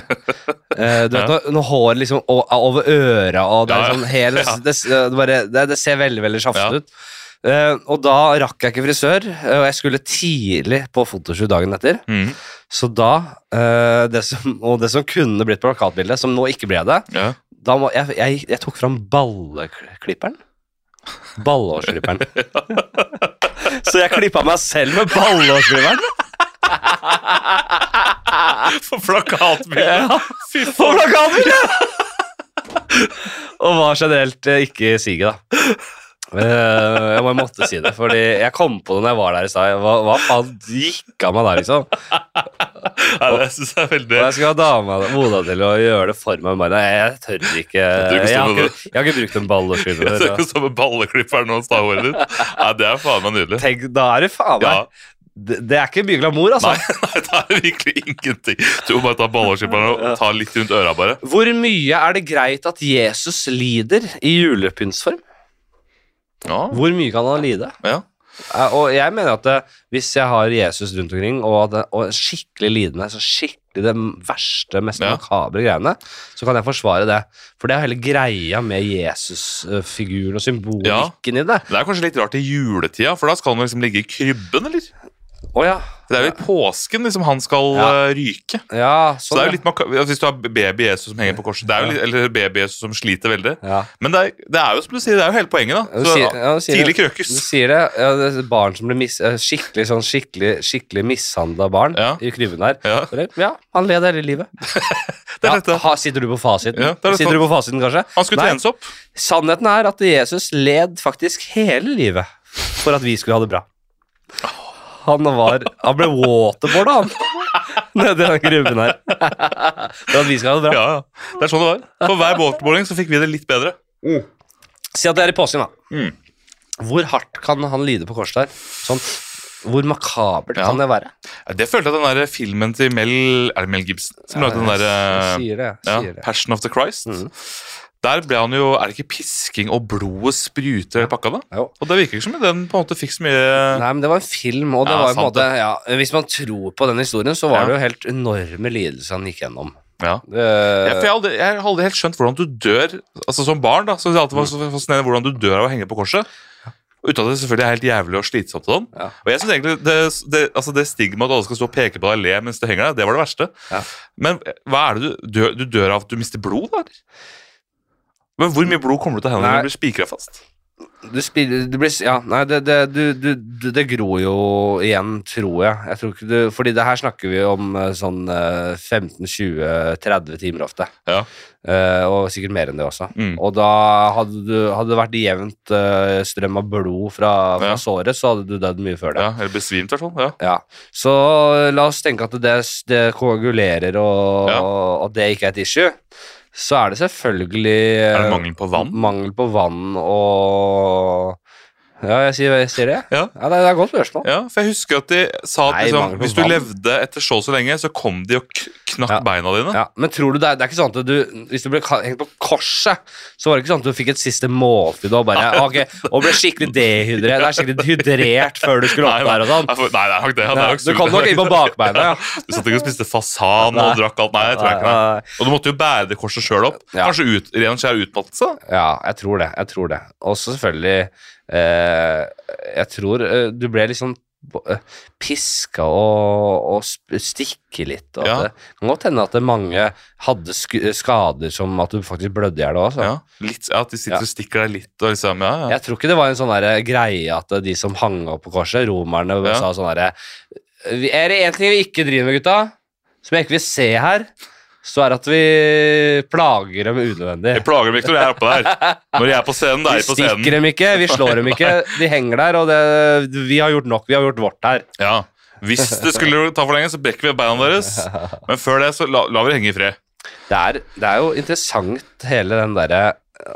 Eh, du vet når, når håret liksom o- er over øra, og det er Ja, ja. sånn hele Ja. det, s- det, bare, det, det ser veldig, veldig sjafset Ja. ut. Eh, og da rakk jeg ikke frisør, eh, og jeg skulle tidlig på fotoshoot dagen etter. Mm. Så da, eh, det som, *laughs* og det som kunne blitt plakatbilde, som nå ikke ble det, *laughs* Ja. da må, jeg, jeg, jeg tok fram balleklipperen. *laughs* Ballehårsklipperen. Så jeg klippa meg selv med ballehårsklipperen. For *laughs* plakatbildet. Ja, Fy på faen. plakaten! *laughs* Og var generelt eh, ikke i siget, da. Eh, Jeg må jeg måtte si det, Fordi jeg kom på det når jeg var der i stad. Hva, hva faen gikk av meg der, liksom? Nei, det synes jeg er veldig Og jeg skal ha dama moda til å gjøre det for meg. men Bare, nei, jeg tør ikke. tør ikke stå Jeg har med det. ikke, jeg har ikke brukt en ballehårskliper. *laughs* Jeg ser ikke som en balleklipperen og stavhåret ditt. Nei, det er faen meg nydelig. Tenk, da er det faen meg Ja. det, det er ikke mye glamour, altså. Nei, *laughs* nei, det er virkelig ingenting. Du må bare ta balleklipperen og ta litt rundt øra, bare. Hvor mye er det greit at Jesus lider i julepyntsform? Ja. Hvor mye kan han lide? ja. Eh, Og jeg mener at eh, hvis jeg har Jesus rundt omkring, og, at det- og skikkelig lidende, så skikkelig det verste, mest Ja. makabre greiene, så kan jeg forsvare det. For det er jo hele greia med Jesus-figuren og symbolikken i det. Det er kanskje litt rart i juletida, for da skal han liksom ligge i krybben, eller? Å ja. Det er jo i påsken liksom han skal Ja. eh, ryke. Ja, Så det er jo sånn. litt maka- Hvis du har baby Jesus som henger på korset, det er jo litt, eller baby Jesus som sliter veldig. ja. Men det er, det er jo som du sier, det er jo hele poenget, Ja, da. du Så, sier- ja, du sier tidlig det. krøkes. Du sier det. Ja, det er barn som blir mis eh, skikkelig, sånn, skikkelig, skikkelig mishandla barn Ja. i krybben der. Ja. Eller, ja, han leder hele livet. er ja, dette. ha, sitter du på fasiten? Ja, det er det sitter du på fasiten, kanskje? Han skulle Nei. trenes opp. Sannheten er at Jesus led faktisk hele livet for at vi skulle ha det bra. Han, var, han ble waterboarda, han. *laughs* Nedi den gruben her. For at vi skal ha det bra. Ja, ja. Det er sånn det var. For hver båtmåling så fikk vi det litt bedre. Si at det er i påsken, da. Mm. Hvor hardt kan han lide på korset der? Sånn, hvor makabert Ja. kan det være? Ja, Det følte jeg at den der filmen til Mel Er det Mel Gibson som lagde den Jeg der eh, Sier det. ja, Sier det. Passion of the Christ? Mhm. Der ble han jo Er det ikke pisking og blodet spruter i hele pakka, da? Jo. Og det virker ikke som den på en måte fikk så mye Nei, men det var en film, og det Ja, var jo på en sant måte ja, Hvis man tror på den historien, så var Ja. det jo helt enorme lidelser han gikk gjennom. Ja. Det, Jeg, for jeg, har aldri, jeg har aldri helt skjønt hvordan du dør Altså Som barn da Så det alltid var så fascinerende hvordan du dør av å henge på korset. Uten at det selvfølgelig er helt jævlig og slitsomt. og Sånn. Ja. Og jeg synes egentlig Det, det, altså det stigmaet at alle skal stå og peke på deg og le mens du henger der, det var det verste. Ja. Men hva er det du dør, du dør av at du mister blod, da? eller? Men Hvor mye blod kommer du til å hende Nei. når du blir spikra fast? du spiller du blir, Ja, nei, det, det, du, du, du, det gror jo igjen, tror jeg. jeg tror ikke du, fordi det her snakker vi om eh, sånn 15-20-30 timer ofte. Ja. Eh, og sikkert mer enn det også. Mm. Og da hadde, du, hadde det vært jevnt eh, strøm av blod fra, fra Ja. såret, så hadde du dødd mye før det. Ja, eller besvimt, i hvert fall. Ja. Ja, så la oss tenke at det, det koagulerer og, Ja. og at det ikke er et issue. Så er det selvfølgelig eh, Er det mangel på vann? mangel på vann og Ja, jeg sier, jeg sier det. Ja. det, det er et godt spørsmål. Ja, for jeg husker at de sa at Nei, liksom, mangel på hvis du vann. levde etter så og så lenge, så kom de og k- knakk Ja. beina dine. Ja, men tror du det er, det er ikke sånn at du Hvis du ble ka- hengt på korset, så var det ikke sånn at du fikk et siste måltid og bare «Ah, ok, og ble skikkelig dehydrert. Det er skikkelig hydrert før du skulle Nei, opp der og sånn. Nei, for- nei, det er nok det. det er Ja, nok du kom sult. nok inn på bakbeina, ja. *laughs* Du satt ikke og spiste fasan Nei. og drakk alt. Nei, jeg tror jeg ikke det. Nei, Og du måtte jo bære det korset sjøl opp. Ja. Kanskje ut, ren og skjær utmattelse? Ja, jeg tror det. Jeg tror det. Og så selvfølgelig eh, Jeg tror eh, du ble liksom eh, piska og, og sp- stikke litt. Og Ja. at det kan godt hende at det mange hadde sk skader som at du faktisk blødde i hjel òg. Ja. Litt, ja, at de sitter Ja. og stikker deg litt og liksom Ja, ja. Jeg tror ikke det var en sånn der greie at de som hang opp på korset, romerne, Ja. sa sånn herre Er det én ting vi ikke driver med, gutta, som jeg ikke vil se her, så er det at vi plager dem unødvendig. Jeg plager dem ikke når jeg er oppe der. Når jeg er på scenen, da er Vi jeg på scenen. stikker dem ikke, vi slår dem *laughs* ikke. De henger der, og det, vi har gjort nok. Vi har gjort vårt her. Ja. Hvis det skulle ta for lenge, så brekker vi beina deres. Men før det, så la, lar vi det henge i fred. Det er, det er jo interessant hele den derre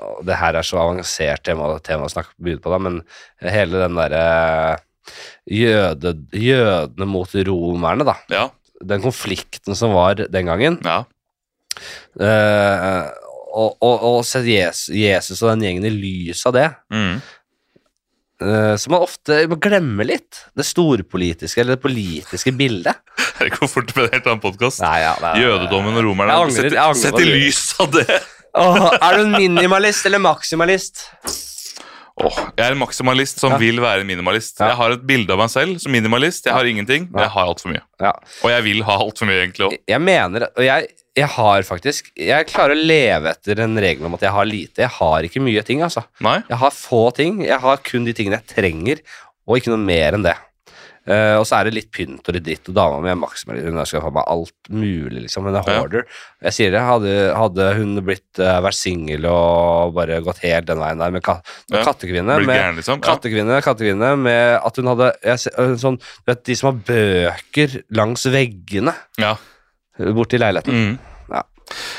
og Det her er så avansert tema, tema å snakke begynne på, da, men hele den derre jøde, Jødene mot romerne, da. Ja. Den konflikten som var den gangen. ja. eh, og, og, og sett Jesus, Jesus og den gjengen i lys av det. Mm. eh, som man ofte glemmer litt. Det storpolitiske, eller det politiske bildet. Jeg vet ikke hvor fort det ble en helt annen podkast. Nei, ja, det er- Jødedommen og romerne. Jeg angrer- Sett i- jeg angrer på Sett i det. lys av det. Åh, er du en minimalist eller maksimalist? Åh, jeg er en maksimalist som Ja. vil være en minimalist. Ja. Jeg har et bilde av meg selv som minimalist. Jeg har ingenting, men jeg har altfor mye. Ja. Og jeg vil ha altfor mye, egentlig òg. Jeg mener, og jeg, jeg har faktisk Jeg klarer å leve etter en regel om at jeg har lite. Jeg har ikke mye ting, altså. Nei? Jeg har få ting. Jeg har kun de tingene jeg trenger, og ikke noe mer enn det. Eh, og så er det litt pynt og litt dritt, og dama mi er maksimalist. Hun skal få meg alt mulig, liksom. Hun er Ja. hoarder. Jeg sier det, hadde, hadde hun blitt, eh, vært singel og bare gått helt den veien der med kat Ja. kattekvinne Blir med, gæren, liksom. Ja. Kattekvinne, kattekvinne med at hun hadde jeg, ser- øh, sånn, du vet, De som har bøker langs veggene Ja. borti leiligheten. Mm. Ja.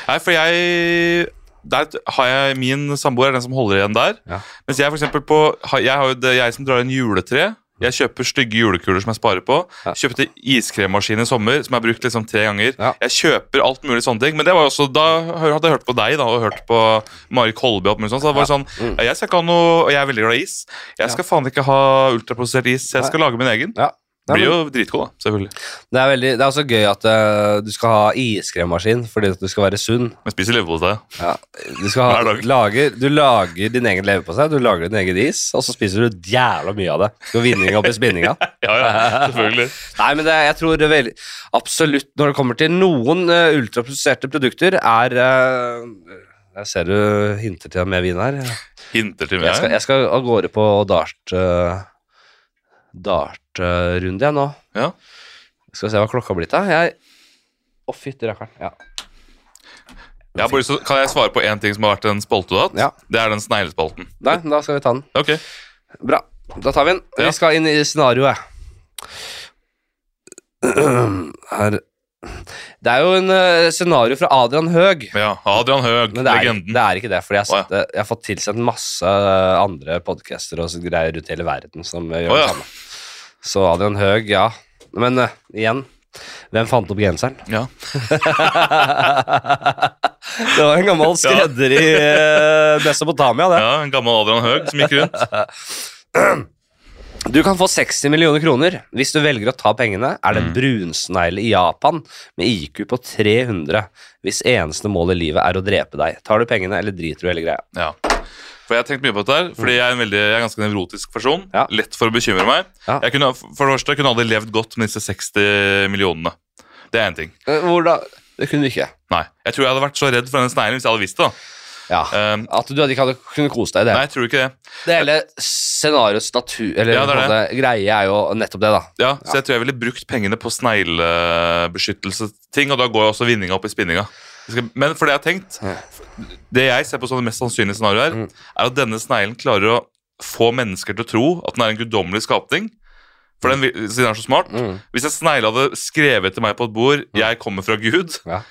Nei, for jeg der har jeg Min samboer er den som holder igjen der. Ja. Mens jeg for eksempel på har- Jeg har jo det jeg som drar inn juletre. Jeg kjøper stygge julekuler som jeg sparer på. Mm. Ja. Kjøpte iskremmaskin i sommer som jeg har brukt liksom tre ganger. Ja. Jeg kjøper alt mulig sånne ting. Men det var jo også, da hør- hadde jeg hørt på deg da, og hørt på Mari Kolby. og alt mulig sånt, Så det var jo Mm. sånn, ja, jeg skal ikke ha noe, og jeg er veldig glad i is. Jeg skal faen ikke ha ultraprosessert is. Jeg skal lage min egen. Ja. Nei, Blir men jo dritgod, da. Selvfølgelig. det, er veldig, det er også gøy at øh, du skal ha iskremmaskin fordi at du skal være sunn. Men spiser leverpostei. Ja. Du, skal Hver ha, dag. lager, du lager din egen leverpostei, du lager din egen is, og så spiser du jævla mye av det. Du har vinninga oppi *laughs* spinninga. *laughs* Ja, ja, selvfølgelig. Nei, men det, jeg tror det vel, absolutt når det kommer til noen eh, ultraprosesserte produkter, er eh, Jeg ser du hinter til mer vin her. Hinter til meg. Jeg skal, jeg skal av gårde på dart eh, Dart-runde jeg nå. Ja. Skal vi se hva klokka har blitt, da. Jeg Å, fytti rakkeren. Ja. Jeg har bare, lyst til- kan jeg svare på én ting som har vært en spalte du har hatt? Ja. Det er den sneglespalten. Nei, da skal vi ta den. Ok. Bra. Da tar vi den. Ja. Vi skal inn i scenarioet. *clears throat* Her Det er jo en eh, scenario fra Adrian Høeg. Ja, Adrian Høeg, Men det er, legenden. det er ikke det, for jeg, har Å, ja. sett det- jeg har fått tilsendt masse eh, andre podcaster og så greier rundt hele verden som eh, gjør Å, ja. det samme. Så Adrian Høeg, ja. Men eh, igjen, hvem fant opp genseren? Ja. det var en gammel *laughs* skredder i eh, Mesopotamia, det. ja, En gammel Adrian Høeg som gikk *laughs* rundt. Du kan få 60 millioner kroner hvis du velger å ta pengene. Er Mm. det en brunsnegle i Japan med IQ på 300 hvis eneste mål i livet er å drepe deg? Tar du pengene, eller driter du hele greia? Ja. For Jeg har tenkt mye på dette her, fordi jeg er en veldig, jeg er en ganske nevrotisk person. Ja. Lett for å bekymre meg. Ja. Jeg kunne, for det første jeg kunne aldri levd godt med disse 60 millionene. Det er én ting. Eh, Hvor da? Det kunne du ikke. Nei, Jeg tror jeg hadde vært så redd for den sneglen hvis jeg hadde visst det. da. Ja. Ehm, At du hadde ikke hadde kunnet kose deg i det. nei, jeg tror ikke det. Det hele scenarioets natur Eller Ja, det er på en måte, greie er jo nettopp det, da. Ja, Så jeg tror jeg ville brukt pengene på sneglebeskyttelsesting, og da går også vinninga opp i spinninga. Jeg skal- Men for det jeg har tenkt Det jeg ser på som det mest sannsynlige scenarioet, Mm. her, er at denne sneglen klarer å få mennesker til å tro at den er en guddommelig skapning. For den, vil- siden den er så smart. Mm. Hvis en snegle hadde skrevet til meg på et bord 'Jeg kommer fra Gud', Ja.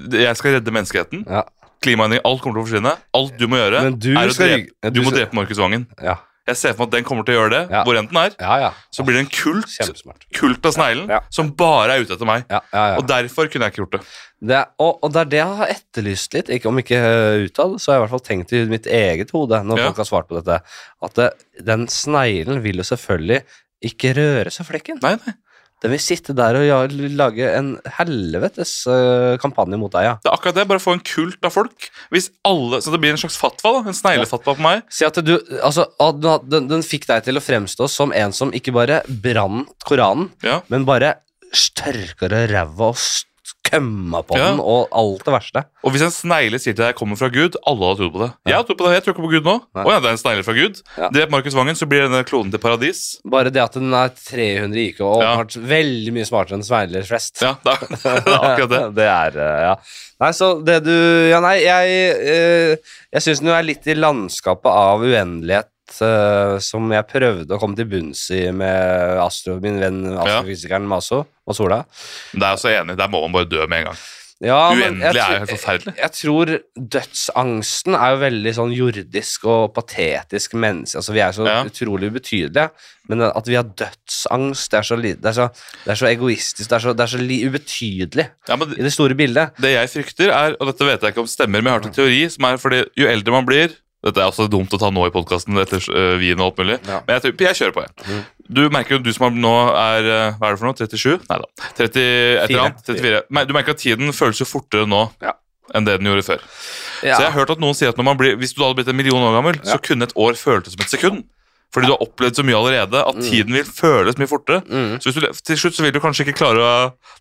'Jeg skal redde menneskeheten', Ja. klimaendringer, alt kommer til å forsvinne, alt du må gjøre, Men du er å skal drepe, ry- du må skal- drepe Markus Vangen. Ja. Jeg ser for meg at den kommer til å gjøre det, Ja. hvor enn den er. Ja, ja. Så blir det en kult, Kjempesmart. kult av sneglen Ja. som bare er ute etter meg. Ja, ja, ja. Og derfor kunne jeg ikke gjort det. Det er, og, og det er det jeg har etterlyst litt, ikke om ikke eh, utad, så har jeg i hvert fall tenkt i mitt eget hode når Ja. folk har svart på dette, at det, den sneglen vil jo selvfølgelig ikke røre seg flekken. Nei, nei. Den vil sitte der og ja- lage en helvetes eh, kampanje mot deg, ja. Det er akkurat det. Bare få en kult av folk. Hvis alle, Så det blir en slags fatwa, da. En sneglefatwa på meg. Si at du, altså, at du- den, den fikk deg til å fremstå som en som ikke bare brant Koranen, Ja. men bare tørka det ræva og skumma på Ja. den, og alt det verste. Og hvis en snegle sier til deg 'kommer fra Gud', alle har trodd på det. Jeg har trodd på det, jeg tror ikke på Gud nå. Nei. Å ja, det er en snegle fra Gud. Ja. Drep Markus Vangen, så blir denne kloden til paradis. Bare det at den er 300 i IQ og Ja. åpenbart veldig mye smartere enn sveiler flest. Ja, det er, *laughs* det er *laughs* akkurat det. Det er, eh, ja. Nei, så det du Ja, nei, jeg, eh, jeg syns nå er litt i landskapet av uendelighet. eh, som jeg prøvde å komme til bunns i med Astro, min venn astrofysikeren Maso Masola. Men det er jeg så enig. Der må man bare dø med en gang. Ja, men jeg Uendelig er jo tror- helt forferdelig. Jeg tror dødsangsten er jo veldig sånn jordisk og patetisk menneske. Altså, vi er så Ja. utrolig ubetydelige, men at vi har dødsangst, det er så, li- det er så, det er så egoistisk, det er så, det er så li ubetydelig Ja, men i det store bildet. Det jeg frykter er, og dette vet jeg ikke om stemmer, men jeg har hørt en teori som er fordi jo eldre man blir Dette er også dumt å ta nå i podkasten etter øh, vin og alt mulig, Ja. Mm. men jeg, tror- jeg kjører på, jeg. Du merker jo du som er, nå er øh, Hva er det for noe? 37? Nei da. 30, et eller annet, 34. Men Du merker at tiden føles jo fortere nå Ja. enn det den gjorde før. Ja. Så jeg har hørt at noen sier at når man blir, hvis du da hadde blitt en million år gammel, så kunne et år føltes som et sekund. Fordi du har opplevd så mye allerede at tiden vil føles mye fortere. Mm. Så hvis du, til slutt så vil du kanskje ikke klare å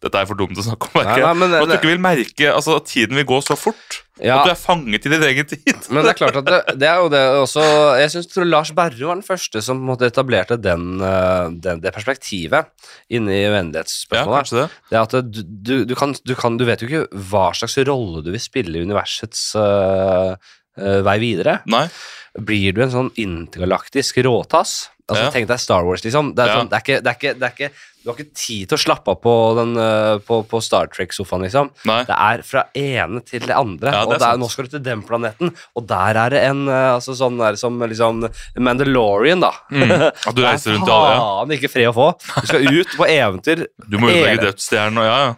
Dette er for dumt å snakke om, merker jeg. Nei, nei, men, Men at du det, ikke vil merke altså, at tiden vil gå så fort. ja, At du er fanget i din egen *laughs* tid. men det er klart at det, det er jo det også Jeg syns Lars Berrum var den første som på en måte etablerte den, eh, den, det perspektivet inni Ja, uendelighetsspørsmålet. kanskje det. Det er at du, du, du, kan, du, kan, du vet jo ikke hva slags rolle du vil spille i universets øh, øh, vei videre. Nei. Blir du en sånn intergalaktisk råtass? Altså, Ja. Tenk deg Star Wars, liksom. Det er Ja. sånn, det er ikke, det er ikke, det er ikke, du har ikke tid til å slappe av på, den, øh, på, på Star Trek-sofaen, liksom. Nei. Det er fra ene til det andre. Ja, det er og det er, sant. nå skal du til den planeten, og der er det en øh, altså, sånn der, som liksom Mandalorian, da. *laughs* Mm. At du Det er reiser rundt i alle. Ja. faen ikke fred å få. Du skal ut på eventyr Du må ødelegge Hele- dødsstjernen og ja, ja.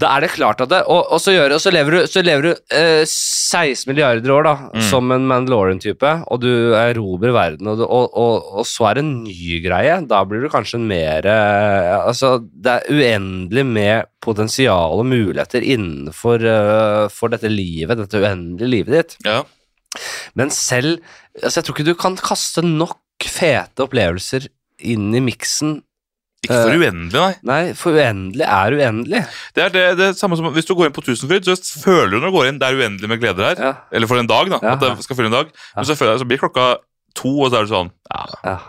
da er det klart at det Og, og så, gjør, og så lever du, så lever du eh, 16 milliarder år da, som en Mandalorian-type, og du erobrer verden, og, du- og, og, og så er det en ny greie. Da blir du kanskje en mer eh, Altså, det er uendelig med potensial og muligheter innenfor eh, for dette livet, dette uendelige livet ditt. ja. Men selv altså Jeg tror ikke du kan kaste nok fete opplevelser inn i miksen. Ikke Eh. for uendelig, nei. Nei, for uendelig er uendelig. Det er det, det er samme som hvis du går inn på Tusenfryd, så føler du når du går inn det er uendelig med gleder her. Ja. Eller for en dag, da. Ja. At det skal fylle en dag. Men så, føler jeg, så blir klokka to, og så er det sånn ja, Ja.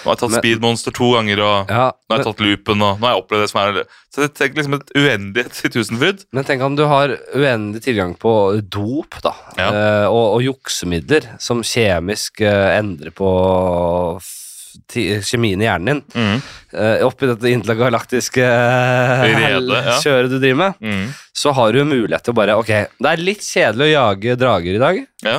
Nå har jeg tatt Men- Speedmonster to ganger, og Ja, nå har jeg tatt Loopen, og nå har jeg opplevd det som er Så det tenk liksom et uendelighet i Tusenfryd. Men tenk om du har uendelig tilgang på dop da, Ja. eh, og, og juksemidler som kjemisk eh, endrer på f- ti- kjemien i hjernen din. Mm. Eh, oppi dette *laughs* intergalaktiske eh, Rede, hell- *laughs* ja. kjøret du driver med, Mm. så har du jo mulighet til å bare Ok, det er litt kjedelig å jage drager i dag. Ja.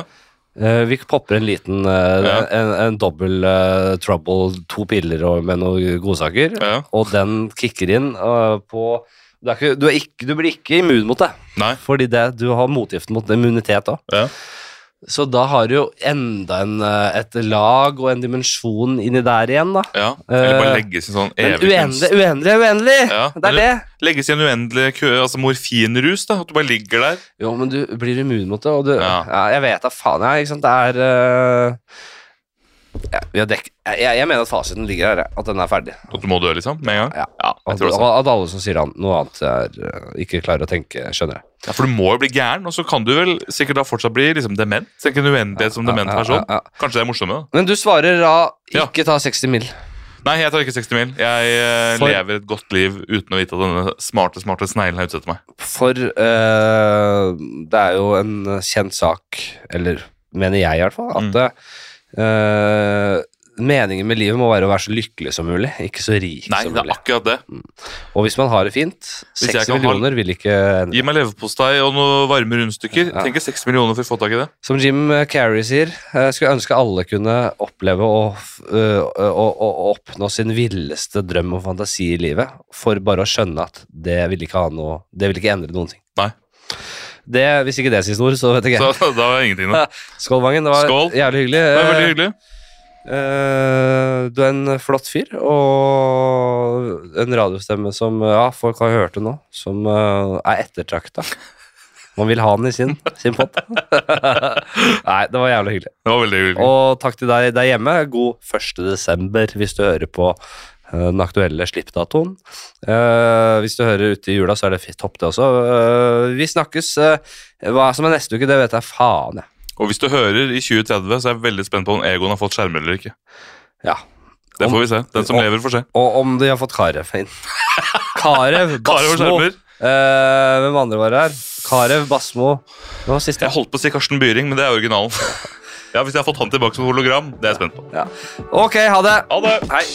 Eh, vi popper en liten eh, Ja. en, en dobbel eh, trouble, to piller og, med noen godsaker, ja. og den kicker inn eh, på du, er ikke, du, er ikke, du blir ikke immun mot det. Nei. Fordi det, du har motgiften mot immunitet òg. Ja. Så da har du jo enda en, eh, et lag og en dimensjon inni der igjen, da. Ja, eller bare Eh, legges i en sånn Men evig uendelig, kunst. uendelig, uendelig! Ja, *laughs* Det er eller det. Legges i en uendelig kø, altså morfinrus, da. At du bare ligger der. Jo, men du blir immun mot det, og du Ja, Ja. jeg vet da faen, jeg. Ikke sant, det er eh, ja, vi har dekk... jeg, jeg mener at fasiten ligger her, jeg. at den er ferdig. At du må dø, liksom, med en gang. Ja. jeg At, tror det er og sant. at alle som sier an- noe annet, er, eh, ikke klarer å tenke, skjønner jeg. Ja, for du må jo bli gæren, og så kan du vel sikkert da fortsatt bli liksom dement. Tenk en uendelighet som dement Ja, ja, person. ja, ja. Kanskje det er morsommere, da. Men du svarer da Ja. ikke ta 60 mil. Nei, jeg tar ikke 60 mil. Jeg eh, For- lever et godt liv uten å vite at denne smarte, smarte sneglen er ute etter meg. For eh, det er jo en Mm. kjent sak, eller mener jeg i hvert fall, at eh, meningen med livet må være å være så lykkelig som mulig, ikke så rik Nei, som det er mulig. akkurat det. Og hvis man har det fint, jeg 6 kan ha- millioner vil ikke endre. Gi meg leverpostei og noen varme rundstykker. Tenk 6 millioner for å få tak i det. Som Jim Carrey sier, jeg skulle ønske alle kunne oppleve å, f- øh, å, å, å oppnå sin villeste drøm og fantasi i livet, for bare å skjønne at det vil ikke, ha noe, det vil ikke endre noen ting. Nei. Det, hvis ikke det er siste ord, så vet jeg ikke. Så *laughs* da var ingenting nå. *laughs* Skål, Vangen. Det var Skål. jævlig hyggelig. Det var veldig hyggelig. Eh, du er en flott fyr, og en radiostemme som ja, folk har hørt det nå, som eh, er ettertrakta. Man vil ha den i sin, sin pott. *laughs* Nei, det var jævlig hyggelig. Det var veldig hyggelig. Og takk til deg der hjemme. God 1. desember hvis du hører på eh, den aktuelle slippdatoen. Eh, hvis du hører ute i jula, så er det fint topp, det også. Eh, vi snakkes. eh, hva som er neste uke, det vet jeg faen, jeg. Og hvis du hører i 2030, så er jeg veldig spent på om Egon har fått skjermer eller ikke. Ja. Det får vi se. Den som lever, får se. Og om de har fått Karev *laughs* inn. Karev Karev får Basmo. skjermer. Eh, hvem andre var det her? Karev Basmo. Hvem var siste? Jeg holdt på å si Karsten Byring, men det er *laughs* originalen. Ja, Hvis jeg har fått han tilbake som hologram, det er jeg spent på. Ja. Ok, ha det. Ha det! Hei.